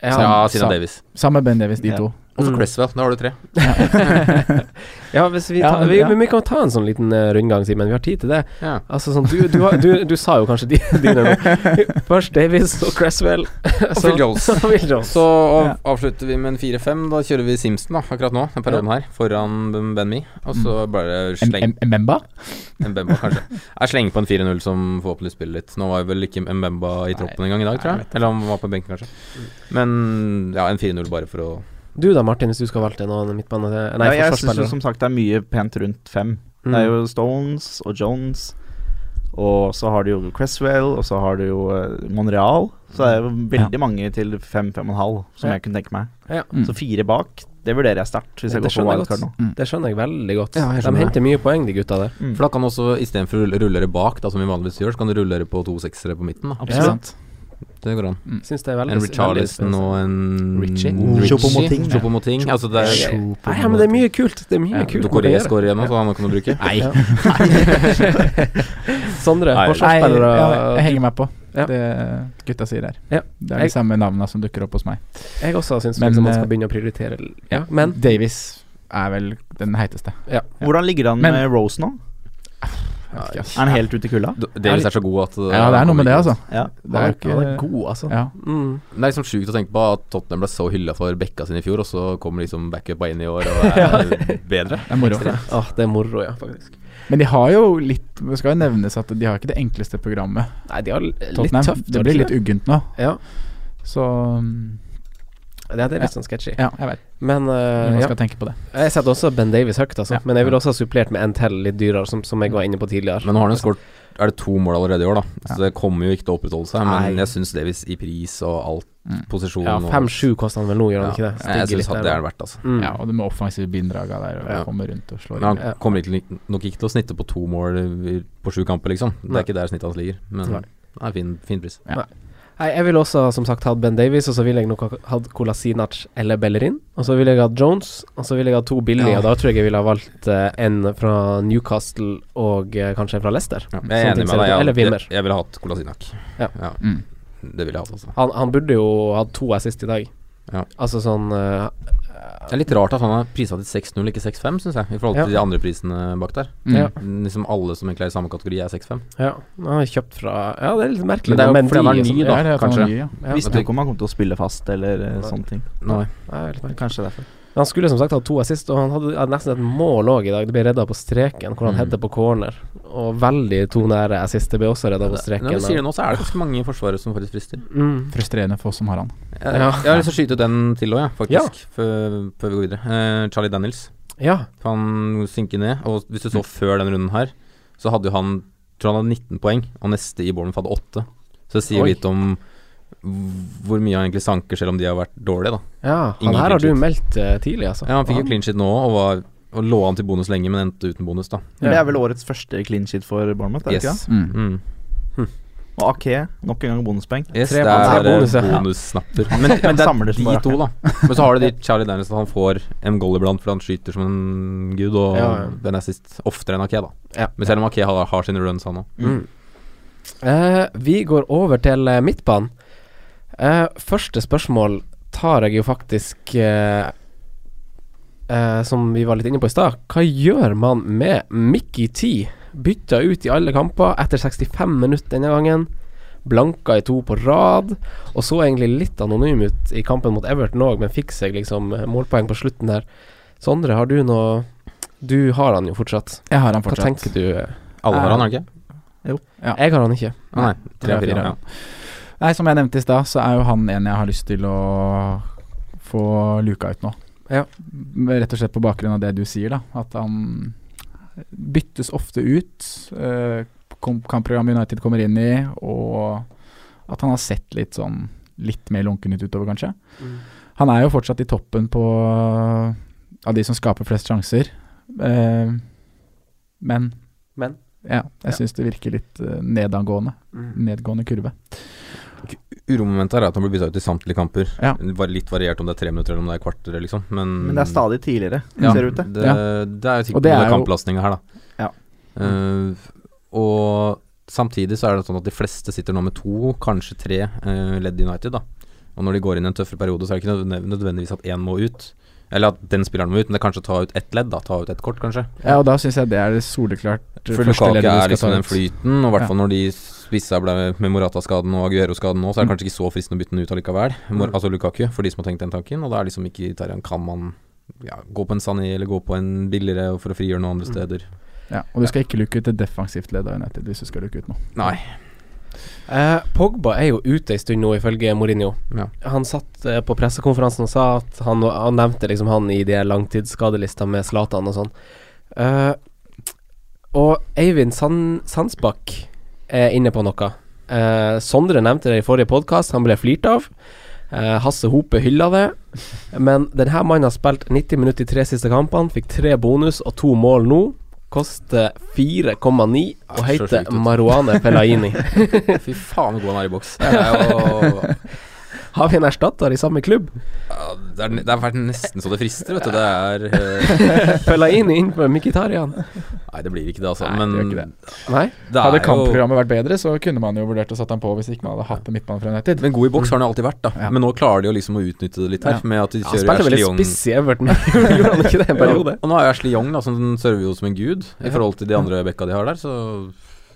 Ja,
Sina
sa-
Davis.
Sammen med Ben Davis, de
Ja.
[laughs]
to. [laughs]
Og så
Mm.
Cresswell. Da har du tre.
[laughs] ja hvis vi,
Ja,
tar, vi,
ja.
Men vi kan ta en sånn liten eh, rundgang, Simen. Vi har tid til det.
Ja.
Altså sånn, du, du, har- du, du sa jo kanskje de- [laughs] dine nå. Først Davies og Cresswell.
Og Phil Jones.
[laughs] og Phil Jones.
Så av,
Ja.
avslutter vi med en 4-5. Da kjører vi Simpson da, akkurat nå, den perioden her, foran Ben- Ben Me. Og så bare
Em-
sleng
Em- Ememba?
[laughs] Mbemba, kanskje. Jeg slenger på en 4-0 som forhåpentlig spiller litt. Nå var jo vel ikke Mbemba i troppen engang i dag, tror jeg. Eller han var på benken, kanskje. Men ja, en 4-0 bare for å
Du da, Martin, hvis du skal valgte noen midtbane... Nei,
ja, jeg syns jo
forsvarsspillere.
som sagt det er mye pent rundt fem.
Mm.
Det er jo Stones og Jones, og så har du jo Cresswell, og så har du jo eh, Monreal. Så det er jo veldig mange til fem, fem og en halv, som
Ja.
jeg kunne tenke meg.
Mm.
Så fire bak, det vurderer jeg sterkt, hvis
Det
jeg går for
skjønner jeg
wildcard nå.
Det skjønner jeg veldig godt.
Ja, jeg
De
skjønner
henter mye poeng, de gutta der.
Mm.
For da kan du også, istedenfor å rulle- rullere bak, da som vi vanligvis gjør, så kan du rullere på to seksere på midten. da
Ja.
Absolutt. sant.
Det går an.
Syns det er veldig
En Richarlison
veldig-
og en
Richie.
Choupo-Moting, ja.
Chopomoting. Altså det
Ja,
er
Nei, ja, men det er mye kult. Det er mye
Ja,
kult. man
Dokoré
kan gjøre.
skårer igjen, så han kan du bruke. Nei.
Ja. [laughs] Sondre,
Nei,
Nei,
forsvarsspillere
ja,
eh,
jeg henger meg på
Ja.
det gutta sier der.
Ja.
Det er de
Jeg-
samme navnene som dukker opp hos meg.
Jeg også syns
Men,
liksom, man skal
eh,
begynne å prioritere. l- Ja, men
Davis er vel den heiteste.
Hvordan ligger det an
Men-
med Rose nå?
Jeg vet ikke, ass.
Er han helt ute i kulda?
Davis er så god at eh,
Ja, det er noe med det, altså.
Ja.
Det er jo
han er
ikke
god, altså.
ja.
Mm.
Det er liksom sjukt å tenke på at Tottenham ble så hylla for bekka sine i fjor, og så kommer liksom backupa inn i år
[laughs]
og er bedre.
Det er moro.
Åh, det er moro, ja, faktisk.
Men de har jo litt Det skal jo nevnes at de har ikke det enkleste programmet.
Nei, de har l- litt
Tottenham.
tøft.
det
har
blir
de
litt uggent nå.
ikke det? Ja,
Så mm,
det er- det er litt sånn sketchy.
ja, jeg vet.
Men eh,
Man
ja.
skal tenke på det.
jeg setter også Ben Davies høyt, altså.
Ja.
Men jeg ville også ha supplert med en til litt dyrere, som, som jeg var inne på tidligere.
Men nå har han jo skåret Er det to mål allerede i år, da? Så
Ja.
det kommer jo ikke til å opprettholde seg. Men
Nei.
jeg syns Davis i pris og alt,
Mm.
posisjon
Ja,
og-
5-7 koster han vel nå, gjør han
Ja,
ikke det?
Jeg
Stiger
syns
litt
at
der,
det
da.
er det verdt, altså.
Mm.
Ja, og det med offensive bidraga der og
Ja.
komme rundt og slå
Men han
Ja.
kommer ikke, nok ikke til å snitte på to mål i- på sju kamper, liksom. Det
Nei.
er ikke der snittet hans ligger. Men
Nei.
det er fin, fin pris.
Nei. Nei, jeg ville også som sagt hatt Ben Davies, og så ville jeg nok ha- hatt Kolasinac eller Bellerin. Og så ville jeg hatt Jones, og så ville jeg hatt to billige,
Ja.
og da tror jeg jeg ville ha valgt eh, en fra Newcastle og eh, kanskje en fra Leicester.
Ja, jeg
Sånn
er
ting
enig
ser
med deg.
det ut. Eller
Jeg,
Wimmer.
jeg, jeg ville hatt Kolasinac.
Ja.
Mm.
Det ville jeg hatt altså. også.
Han, han burde jo hatt to assist i dag.
Ja.
Altså sånn eh,
Det er litt rart at han er prisa til 6-0, ikke 6-5, syns jeg. I forhold til
Ja.
de andre prisene bak der.
Mm.
Ja.
Liksom alle som egentlig er i samme kategori, er 6-5.
Ja, han er kjøpt fra Ja, det er litt merkelig.
Men det er jo
med
fordi han
Mendy,
er ny,
liksom.
da.
Ja, det er at han
kanskje.
er ny, ja.
Ja,
Visste
at
du ikke om han kom til å spille fast eller eh,
Nei.
sånne ting.
Ja,
Nei.
det er litt merkelig.
Kanskje derfor.
Men Han skulle som sagt ha to assist, og han hadde, hadde nesten et mål òg i dag. Det ble redda på streken, hvor han
Mm.
header på corner. Og veldig to nære assist. Det ble også redda på streken.
Når du sier det nå, så er det ganske mange forsvarere som faktisk frister.
Mm.
Frustrerende for oss som har han.
Jeg,
Ja.
jeg har lyst til å skyte ut den til òg, ja, faktisk, Før, før vi går videre. Eh, Charlie Daniels.
Ja.
Han synker ned, og hvis du så før den runden her, så hadde jo han Tror han hadde 19 poeng, og neste i Bournemouth hadde 8. Så det sier
Oi.
litt om hvor mye han egentlig sanker, selv om de har vært dårlige, da.
ja. Han
Ingen
her har du
clean sheet.
meldt eh, tidlig, altså.
Ja, han fikk jo clean shit nå, og, var, og lå an til bonus lenge, men endte uten bonus, da.
Men det er vel årets første clean sheet for Bournemouth, er det ikke det?
Yes.
Mm.
Mm.
Og Ake, nok en gang bonuspoeng.
Yes,
Tre
det
mann,
er
tre bonus, ja.
eh, bonussnapper. Men, men [laughs] det
samler
er
som
de
bare
to, da. [laughs] Men så har det de Charlie Daniels at han får en goal iblant fordi han skyter som en gud, og
Ja, ja.
den er sist oftere enn Ake, da.
Ja.
Men selv om Ake har, har sine runs, han òg.
Mm. Eh, vi går over til eh, midtbanen. Eh, første spørsmål tar jeg jo faktisk eh, eh, Som vi var litt inne på i stad. Hva gjør man med Mickey T? Bytta ut i alle kamper etter 65 minutter denne gangen. Blanka i to på rad. Og så egentlig litt anonym ut i kampen mot Everton òg, men fikk seg liksom eh, målpoeng på slutten der. Sondre, har du noe Du har han jo fortsatt.
Jeg har han
Hva
fortsatt.
tenker du?
Alle har han, har de ikke?
Jeg har han ikke.
Nei, tre av fire.
ja.
Ja.
Nei, som jeg nevnte i stad, så er jo han en jeg har lyst til å få luka ut nå.
Ja.
Rett og slett på bakgrunn av det du sier, da. At han byttes ofte ut. eh, kom- Kampprogram United kommer inn i, og at han har sett litt sånn litt mer lunken ut utover, kanskje. Han er jo fortsatt i toppen på av de som skaper flest sjanser. Eh, men
Men?
Ja, jeg syns det virker litt eh, nedangående. Nedgående kurve.
Uromomentet er at han blir bytta ut i samtlige kamper.
Ja.
Var litt variert om det er tre minutter eller om det er kvarter, liksom. Men,
Men det er stadig tidligere,
Ja.
ser det ut til.
Det, det er jo
Og
sikkert
det
noe
er
med
jo-
kamplastninga her, da.
Ja.
Eh, og samtidig så er det sånn at de fleste sitter nå med to, kanskje tre eh, ledd i United, da. Og når de går inn i en tøffere periode, så er det ikke nødvendig- nødvendigvis at én må ut. Eller at den spilleren må ut, men det er kanskje å ta ut ett ledd, da. Ta ut ett kort, kanskje.
Ja, og da syns jeg det er det soleklart eh,
For Lukaku er liksom den
ut.
flyten, og i hvert
Ja.
fall når de spissa ble med Morata-skaden og Aguero-skaden nå, så er det kanskje ikke så fristende å bytte den ut allikevel. Mor
Mm.
altså Lukaku, for de som har tenkt den tanken. Og da er liksom ikke Tarjan Kan man ja, gå på en Sané eller gå på en billigere for å frigjøre noen andre
Mm.
steder?
Ja, og du skal ikke luke ut et defensivt ledd av United hvis du skal luke ut noe.
Nei.
Eh, Pogba er jo ute en stund nå, ifølge Mourinho.
Ja.
Han satt eh, på pressekonferansen og sa at han, han nevnte liksom han i de langtidsskadelista med Zlatan og sånn. Eh, og Eivind Sand, Sandsbakk er inne på noe. Eh, Sondre nevnte det i forrige podkast, han ble flirt av. Eh, Hasse Hope hylla det. Men denne mannen har spilt 90 minutter i tre siste kampene, fikk tre bonus og to mål nå. Koster 4,9 og
Ja, så sjukt
heter
ut.
Marouane
[laughs]
Fellaini.
Fy faen, så god han er i boks. Det er jo
Har vi en erstatter i samme klubb?
ja, det, er, det har vært nesten så det frister, vet du. Det er eh,
Fellaini inn på Mkhitaryan.
Nei, det blir ikke det, altså.
Nei, det
men
gjør
det,
ikke
Nei?
Hadde
er jo
kampprogrammet vært bedre, så kunne man jo vurdert å satt han på hvis ikke man hadde hatt en midtbane fra United.
men god i boks har han jo alltid vært, da.
Ja.
Men nå klarer de jo liksom å utnytte det litt her.
Ja.
Med at de
Han
kjører
spilte veldig
Ashley Young-
spiss i Everton, [laughs] gjorde han ikke det en periode?
Og nå er [laughs] jo Ashley Young, da, som server jo som en gud i forhold til de andre bekka de har der, så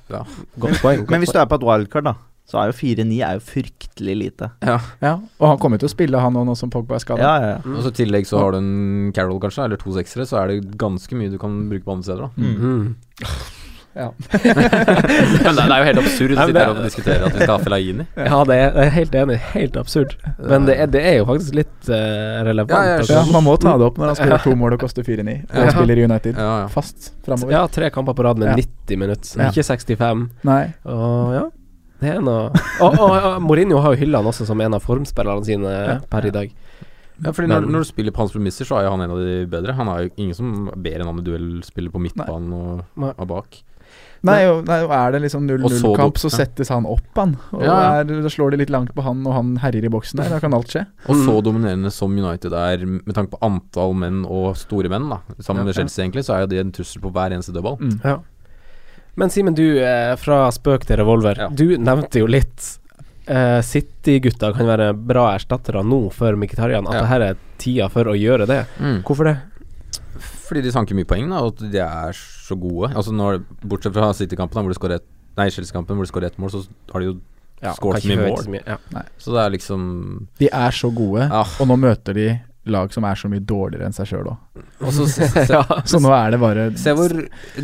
Godt poeng.
Men hvis du er på et wildcard, da, så er jo 4-9 er jo fryktelig lite.
Ja, og han kommer jo til å spille, han nå, nå som Pogba er skada.
Ja, ja, ja.
Og så I tillegg så har du en Carol, kanskje, eller to seksere, så er det ganske mye du kan bruke på andre [laughs] steder, da.
Mm.
Mm.
Men det, det er jo helt absurd å
Nei, men
sitte her og diskutere at vi skal ha Fellaini.
Ja, det er, jeg er helt enig. Helt absurd. Men det er, det er jo faktisk litt eh, relevant.
Ja, jeg
altså.
Ja, man må ta det opp når han spiller to mål og koster 4-9, og
Ja.
spiller i United.
[laughs] Ja, ja.
Fast framover.
ja, tre kamper på rad med
Ja.
90 minutter,
Ja.
ikke 65.
Nei.
Og ja,
[laughs]
det er noe Og, og, og Mourinho har jo hylla han også som en av formspillerne sine per i dag.
Ja, fordi
Men-
når, når du spiller på hans premisser, så er jo han en av de bedre. Han er jo ingen som er bedre enn han i duellspillet på midtbanen og,
Nei.
og bak.
Nei, jo, nei, jo, er det liksom
Og så
0-0-kamp,
du-
så settes han opp, han. Og
Ja,
Er, da slår de litt langt på han, og han herjer i boksen der. Da kan alt skje.
Og så dominerende som United er, med tanke på antall menn og store menn, da. Sammen
Ja,
med
ja.
Chelsea, egentlig, så er jo de en trussel på hver eneste dødball.
Mm.
Ja. Men Simen, du eh, fra spøk til revolver.
Ja.
Du nevnte jo litt eh, City-gutta kan være bra erstattere nå for Mkhitaryan. At
Ja.
det her er tida for å gjøre det.
Mm.
Hvorfor det?
Fordi de sanker mye poeng, da, og at de er så gode. Altså når, Bortsett fra City-kampen, da, hvor de skårer ett Nei, Chelsea-kampen hvor de skårer ett mål, så har de jo
kan
skåret så mye
ikke forvente
mål.
så mye. Ja.
Så det er liksom
De er så gode,
Ja.
og nå møter de lag som er så mye dårligere enn seg sjøl òg.
Og så
[laughs]
se, se,
Så nå er det bare
se hvor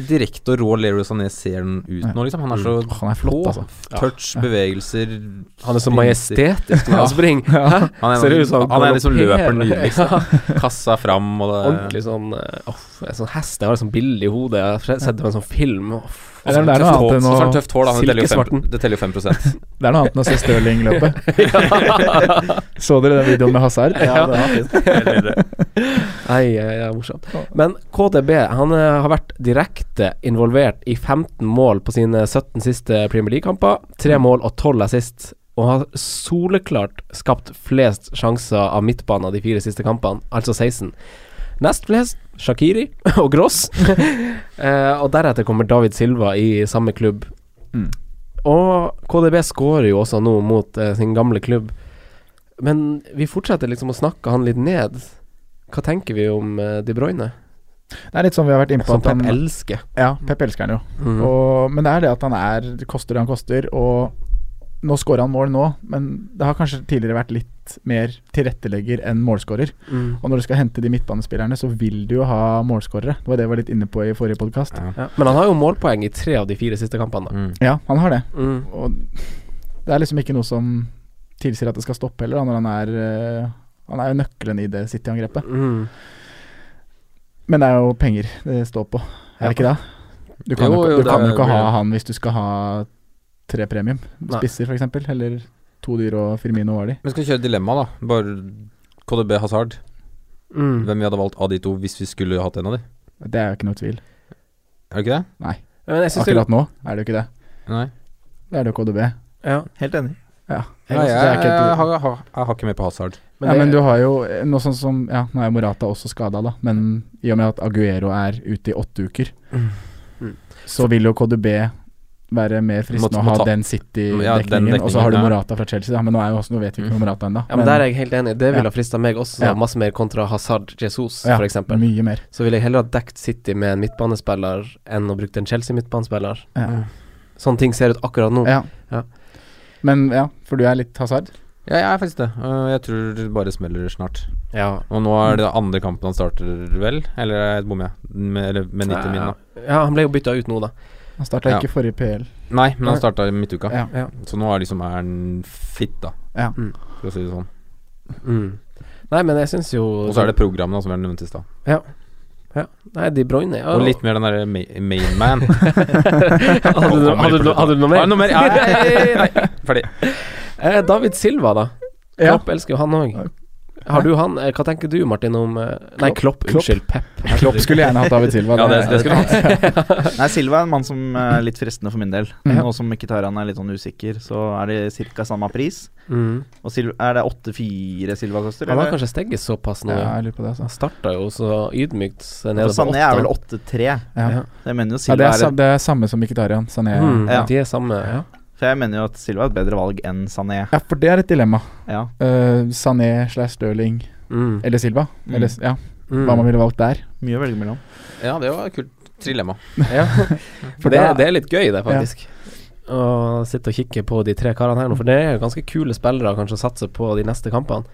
direkte og rå Leroy Sané ser den ut nå, liksom. Han er så
Åh, Han er flott,
På.
altså.
Touch, bevegelser
Han er så
sprinter.
majestetisk når
[laughs] Ja.
han springer. Hæ?
Han er,
Ser
en,
ut som han
han er liksom
galopperer.
løper nydelig,
[laughs]
liksom. Kassa fram og det
Ordentlig sånn eh, Uff, en sånn hest. Jeg har et sånt bilde i hodet. Jeg har sett det på en sånn film. sånn Uff.
Eller det er noe
tøft
annet enn
hår-
å-
så har han Sånn tøft hår, da. Det teller jo fem-
Silkesvarten.
Det teller jo 5
[laughs] Det er noe annet enn å se
[laughs]
Stirling løpe. Så dere den videoen med Hazard?
Ja,
det
Helt nydelig.
Nei, eh, det er morsomt. Men KDB han eh, har vært direkte involvert i 15 mål på sine 17 siste Premier League-kamper. Tre mål og tolv assist. Og har soleklart skapt flest sjanser av midtbanen av de fire siste kampene, altså 16. Nest flest Shakiri [laughs] og Gross. Eh, og deretter kommer David Silva i samme klubb.
Mm.
Og KDB skårer jo også nå mot eh, sin gamle klubb. Men vi fortsetter liksom å snakke han litt ned. Hva tenker vi om eh, De Bruyne?
Det er litt sånn vi har vært inne på
Som
at
Pep
han
elsker.
Ja, Pep elsker han jo.
Mm.
Og, men det er det at han er det koster det han koster, og nå scorer han mål nå, men det har kanskje tidligere vært litt mer tilrettelegger enn målscorer.
Mm.
Og når du skal hente de midtbanespillerne, så vil du jo ha målscorere. Det var det jeg var litt inne på i forrige podkast.
Ja.
Ja. Men han har jo målpoeng i tre av de fire siste kampene. da.
Mm.
Ja, han har det.
Mm.
Og det er liksom ikke noe som tilsier at det skal stoppe heller, da, når han er øh, Han er jo nøkkelen i det City-angrepet.
Mm.
Men det er jo penger det står på, er det ikke det? Du kan
Jo,
jo,
jo,
ikke- du
det
kan jo
er-
ikke ha han hvis du skal ha tre premium.
Nei.
Spisser, f.eks. Eller to dyr og Firmino var de.
Men skal vi kjøre dilemma, da. Bare KDB Hazard.
Mm.
Hvem vi hadde valgt av de to hvis vi skulle hatt en av de?
Det er jo ikke noe tvil.
Er det ikke det?
Men jeg syns det
Akkurat nå er det jo ikke det.
Nei.
Det er det jo KDB.
ja.
Helt enig.
Ja. synes
Nei, jeg,
det er
jeg,
ikke helt-
har, har, jeg har ikke med på Hazard.
Men
ja,
det-
men du har jo eh, noe sånn som Ja, nå er Morata også skada, da, men i og med at Aguero er ute i åtte uker,
Mm. Mm.
så vil jo KDB være mer fristende
Må-
å
må
ha
ta-
den City-dekningen,
Ja, den
og så har du
dekningen, ja.
Morata fra Chelsea, da, men nå, er jo også, nå vet vi ikke
Mm.
om Morata ennå.
ja, men Der er jeg helt enig. Det
Ja.
ville ha frista meg også.
Ja.
Masse mer kontra Hazard Jesus,
Ja,
for eksempel
mye mer.
Så ville jeg heller ha dekt City med en midtbanespiller enn å bruke en Chelsea-midtbanespiller.
Ja.
Sånne ting ser ut akkurat nå.
Ja.
Ja.
Men ja, for du er litt hasard?
Ja, jeg er faktisk det. Øh, Jeg tror det bare smeller snart.
Ja.
Og nå
Mm.
er det andre kampen han starter, vel? Eller eh, bommer jeg? Med, eller med 90 min, da.
Ja, han ble jo bytta ut nå, da.
Han starta
Ja.
ikke forrige PL.
Nei, men
Nei.
han starta i midtuka.
Ja.
Ja.
Så nå er liksom er han fit, da.
Ja.
Mm.
For å si det sånn.
Mm. Nei, men jeg syns jo
Og så er det programmet da, som vi har nevnt i stad.
Nei, De Bruyne ja.
Og litt mer den derre ma-
[laughs]
main man.
[laughs] hadde, du, hadde, du, hadde du noe
Har
mer?
jeg noe mer? Nei,
[laughs]
nei, nei, nei. Ferdig.
Eh, David Silva, da.
Ja.
Klopp elsker jo han òg. Har du han eh, Hva tenker du, Martin, om eh, Nei, Klopp.
Klopp.
Unnskyld, Pep.
Klopp skulle gjerne hatt David
[laughs]
Silva.
Ja, det- det skulle han
Nei, Silva er en mann som er litt fristende for min del.
Ja.
Nå som Mkhitaryan er litt sånn usikker, så er det ca. samme pris.
Mm.
Og Silva, er det 8-4 Silva koster?
Han har
Eller?
kanskje steget såpass nå.
Ja,
Ja.
jeg lurer på det, altså.
Han starta jo så ydmykt så nede på
For Sané er vel
åtta.
8-3.
Ja.
Ja.
Så Jeg mener jo
Ja, det,
Silva
er,
er
sa- det er samme som Mkhitaryan. Sané
Mm,
Ja.
De er samme. Ja.
For jeg mener jo at Silva er et bedre valg enn Sané.
Ja, for det er et dilemma.
Ja.
Eh, Sané slash Stirling
Mm.
eller Silva.
Mm.
Eller, s- ja,
Mm.
hva man ville valgt der.
Mye å velge mellom.
Ja, det var et kult trilemma.
Ja. For det,
da-
det er litt gøy, det, faktisk. Å sitte og kikke på de tre karene her nå, for det er jo ganske kule spillere kanskje å satse på de neste kampene.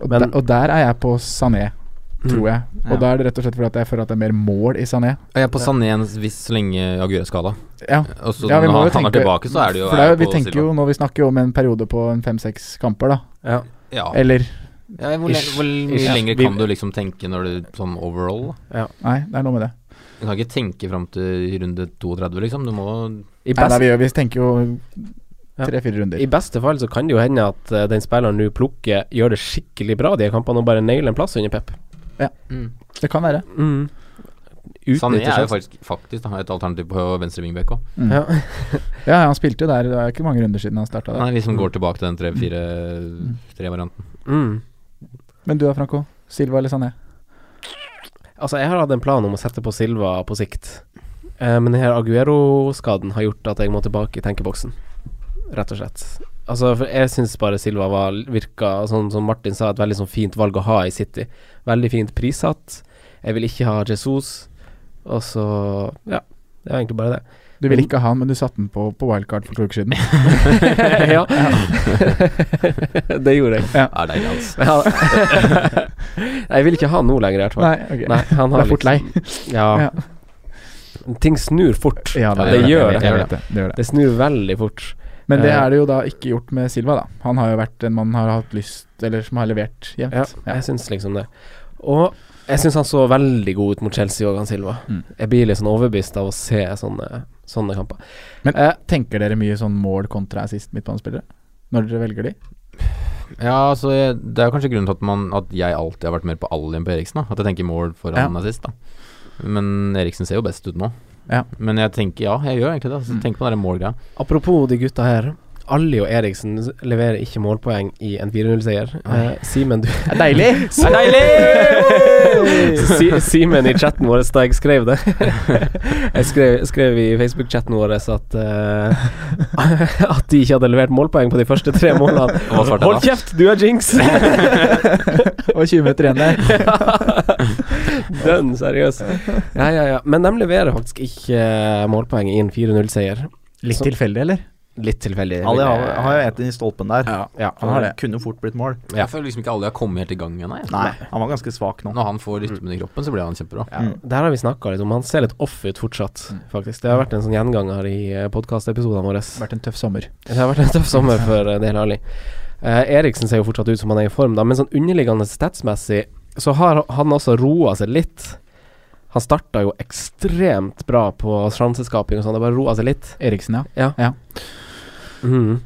Og,
Men- Mm.
der, og der er jeg på Sané, tror jeg.
Ja.
Og da er det rett og slett fordi at jeg føler at det er mer mål i Sané.
Jeg er på Sané hvis så lenge Aguirre er skada.
Ja,
Og så
ja
når han, han er tilbake, så er det jo
For det er jo,
jeg
vi
på
tenker
Silva.
jo nå Vi snakker jo om en periode på en fem-seks kamper, da.
Ja.
ja.
Eller
ja, Hvor, lenge,
Ish.
hvor
Ish.
mye lenger
Vi-
kan du liksom tenke når du sånn overall? da?
Nei, det er noe med det.
Du kan ikke tenke fram til runde 32, liksom. Du må
I
Nei, nei,
best,
vi, gjør- vi tenker jo
Ja.
Tre-fire runder.
I beste fall så kan det jo hende at eh, den spilleren du plukker, gjør det skikkelig bra de kampene og bare nailer en plass under Pep.
Mm.
Det kan være.
Mm.
Sané
Utnytter sjansen.
er jo Sånn, faktisk, faktisk da, et alternativ på venstre wingback òg.
Mm.
Ja.
Ja. ja, han spilte jo der. Det er ikke mange runder siden han starta der.
Han liksom går tilbake til den 3-4-3-varianten.
Mm.
Men du da, Franco? Silva eller Sané?
Altså, jeg har hatt en plan om å sette på Silva på sikt, Eh, men denne Aguero-skaden har gjort at jeg må tilbake i tenkeboksen, rett og slett. Altså, for jeg syns bare Silva var, virka, sånn som Martin sa, et veldig sånn fint valg å ha i City. Veldig fint prissatt. Jeg vil ikke ha Jesus, og så Ja, det var egentlig bare det.
Du ville ikke ha han, men du satte den på på wildcard for to uker siden.
[laughs] ja. det gjorde jeg.
Er deilig, altså.
Ja. [laughs] Nei, jeg vil ikke ha han nå lenger, i hvert fall.
Nei, ok.
Nei, han
Du
har
er fort
liksom-
lei.
Ja.
Ja.
Ting snur fort.
Ja,
det gjør det.
Jeg vet det. det gjør det.
Det snur veldig fort.
Men det
Eh.
er det jo da ikke gjort med Silva, da. Han har jo vært en mann har hatt lyst Eller som har levert jevnt.
Ja, jeg syns liksom det. Og jeg syns han så veldig god ut mot Chelsea og han Silva.
Mm.
Jeg blir litt sånn overbevist av å se sånne, sånne kamper.
Men
Eh.
tenker dere mye sånn mål kontra assist midtbanespillere? Når dere velger de? [laughs]
Ja, altså, jeg, det er kanskje grunnen til at, man, at jeg alltid har vært mer på all enn på Eriksen. Da. At jeg tenker mål foran assist, da. Men Eriksen ser jo best ut nå.
Ja.
Men jeg tenker ja, jeg gjør egentlig det. Altså,
Mm.
Tenk på den der målgreia.
Apropos de gutta her. Alli og Eriksen leverer ikke målpoeng i en 4-0-seier. Eh, Simen, du
[laughs]
Deilig!
Så [laughs] Si- Simen i chatten vår da jeg skrev det. [laughs] Jeg skrev, skrev i Facebook-chatten vår at eh, [laughs] At de ikke hadde levert målpoeng på de første tre målene.
Og hva svarte jeg da?
Hold kjeft, du er jinx! [laughs]
Og 20 meter igjen der.
Dønn seriøs. Ja, ja, ja. Men de leverer faktisk ikke eh, målpoeng i en 4-0-seier.
Litt tilfeldig, eller?
Litt tilfeldig.
Ali har,
vil jeg-
har jo ett inn i stolpen der.
Ja.
ja,
Han har det. Kunne fort blitt mål.
Jeg føler liksom ikke alle har kommet helt i gang ennå. jeg.
Nei, han var ganske svak nå.
Når han får rytmen i kroppen, så blir han kjempebra.
Ja,
Mm.
Der har vi snakka litt om Han ser litt off ut fortsatt, faktisk. Det har vært en sånn gjenganger i podkastepisodene våre.
Vært en tøff sommer.
Det har vært en tøff sommer for eh, Del Ali. Eh, Eriksen ser jo fortsatt ut som han er i form, da, men sånn underliggende statsmessig så har han også roa seg litt. Han starta jo ekstremt bra på sjanseskaping og sånn, det bare roa seg litt.
Eriksen, ja.
Mhm.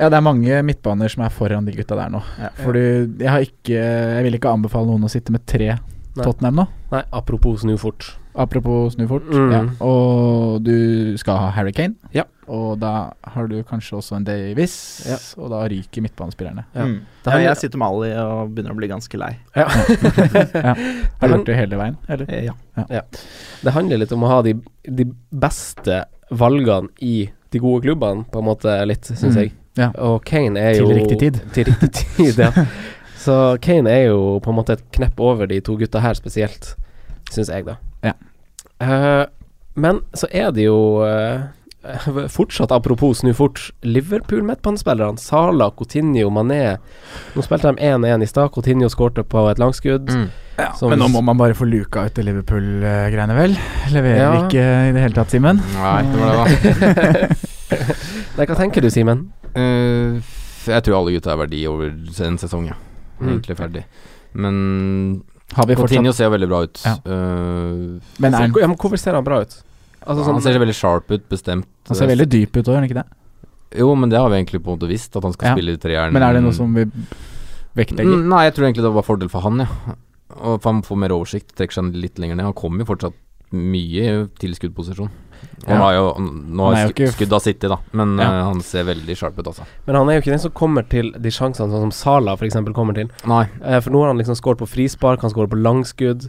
Ja, det er mange midtbaner som er foran de gutta der nå.
Ja.
Fordi jeg har ikke Jeg vil ikke anbefale noen å sitte med tre Tottenham nå.
Nei, apropos snu fort.
Apropos snu fort.
Mm.
Ja. Og du skal ha Harry Kane.
Ja.
Og da har du kanskje også en Davies,
Ja.
og da ryker midtbanespillerne.
Ja.
Mm.
Da
Ja,
han-
jeg sitter med Ali og begynner å bli ganske lei.
Ja.
Har du gjort det hele veien, eller?
Eh, Ja.
Det handler litt om å ha de, de beste valgene i de gode klubbene, på en måte, litt, syns
Mm,
jeg.
ja.
Og Kane er
Til
jo
riktig tid.
[laughs] Til riktig tid,
[laughs]
ja. Så Kane er jo på en måte et knepp over de to gutta her spesielt, syns jeg, da.
Ja.
Eh, men så er det jo eh, [laughs] fortsatt, apropos snu fort, Liverpool-midtbanespillerne. Sala, Coutinho, Mané. Nå spilte de 1-1 i stad. Coutinho skårte på et langskudd.
Mm.
Mm.
Som-
Men nå må man bare få luka ut det Liverpool-greiene, vel? Leverer
Ja.
ikke i det hele tatt, Simen.
Nei, det var det, da.
[laughs] Nei, hva tenker du, Simen?
Eh, f- jeg tror alle gutta er verdi over en sesong, ja.
Mm.
Egentlig ferdig. Men
Har vi fortsatt
Coutinho ser veldig bra ut.
Ja.
Eh,
Men
Så-
er han,
Altså, ja, men hvorfor ser han bra ut? Altså,
han
sånn,
ser veldig sharp ut, bestemt.
han ser veldig dyp ut òg, gjør han ikke det?
Jo, men det har vi egentlig på en måte visst, at han skal
Ja.
spille i treeren.
Men er det noe som vi vektlegger?
Mm, Nei, jeg tror egentlig det var fordel for han, ja. Og for han får mer oversikt, trekker seg litt lenger ned. Han kommer jo fortsatt mye i tilskuddposisjon. Og
Ja.
Han har jo Nå
Han
har
er jo
sku-
ikke-
skudd av City, da, men
Ja.
eh, han ser veldig sharp ut, altså.
men han er jo ikke den som kommer til de sjansene sånn som Sala f.eks. kommer til.
Nei,
Eh, for nå har han liksom skåret på frispark, han skårer på langskudd.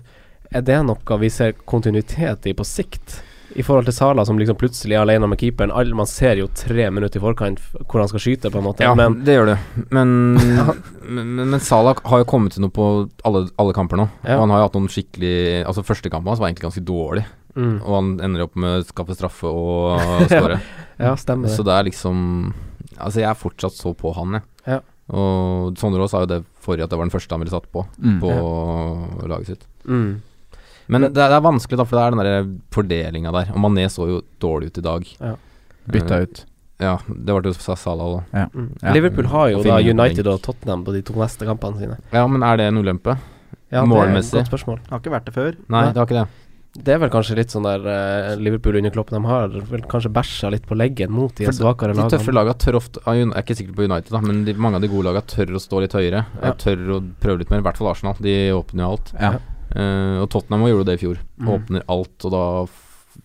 Er det noe vi ser kontinuitet i på sikt? I forhold til Sala, som liksom plutselig er alene med keeperen. All, man ser jo tre minutter i forkant f- hvor han skal skyte, på en måte.
ja,
Men
det gjør det. Men,
[laughs]
men, men, men Salah har jo kommet til noe på alle, alle kamper nå.
Ja.
Og han har jo hatt noen skikkelig Altså, første kampen hans var egentlig ganske dårlig,
mm,
og han ender opp med å skaffe
[laughs]
straffe og skåre.
Ja, stemmer
Så
det.
det er liksom Altså, jeg er fortsatt så på han, jeg.
Ja.
Og Sondre Aas sa jo det forrige, at det var den første han ville satt på,
Mm.
på laget sitt.
Mm,
Men det, det er vanskelig, da, for det er den der fordelinga der. Og Mané så jo dårlig ut i dag.
Ja.
Bytta
Eh,
ut.
Ja, det var det jo Salah da.
mm.
Ja.
Liverpool har jo
Og
da
Finland,
United
tenk.
og Tottenham på de to neste kampene sine.
Ja, men er det en ulempe?
det er et
Målmessig.
Godt spørsmål.
Har ikke vært det før.
Nei,
Nei.
det har ikke det.
Det er vel kanskje litt sånn der eh, Liverpool under Klopp, de har vel kanskje bæsja litt på leggen mot de
For
svakere
De tøffe
lagene.
lagene tør ofte ah, Uni- Jeg er ikke sikker på United, da men de, mange av de gode lagene tør å stå litt høyere.
Ja.
Jeg Tør å prøve litt mer, i hvert fall Arsenal. De åpner jo alt.
Ja.
Eh, og Tottenham gjorde det i fjor.
Mm.
Åpner alt, og da f-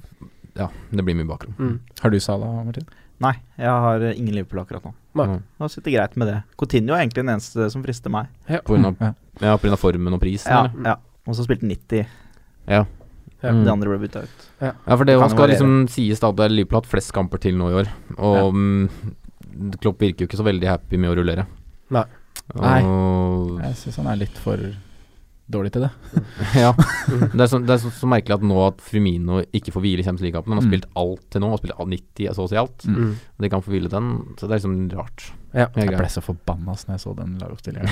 Ja, det blir mye bakrom.
Mm.
Har du Sala, Martin?
Nei, jeg har eh, ingen Liverpool akkurat nå.
Nei.
Mm.
Nå sitter det greit med det. Coutinho er egentlig den eneste som frister meg.
På grunn av-
Ja.
ja, på grunn av formen og prisen,
Ja,
eller?
ja. Og så spilte 90.
Ja.
Mm.
De andre ble bytta ut.
Ja, for det
Kan
man skal
variere.
liksom sies da at det er Liverpool har hatt flest kamper til nå i år. Og
Ja.
mm, Klopp virker jo ikke så veldig happy med å rullere.
Nei.
Nei.
Og,
Jeg syns han er litt for dårlig til det.
[laughs] ja.
Mm.
Det er, så, det er så, så merkelig at nå at Firmino ikke får hvile i Champions League-kampen. Han har
Mm.
spilt alt til nå, han har spilt all- 90 så å si alt.
Mm.
Og De kan få hvile den, så det er liksom rart.
Ja.
Det er
Jeg ble
greit.
så forbanna ass, når jeg så den lagoppstillingen.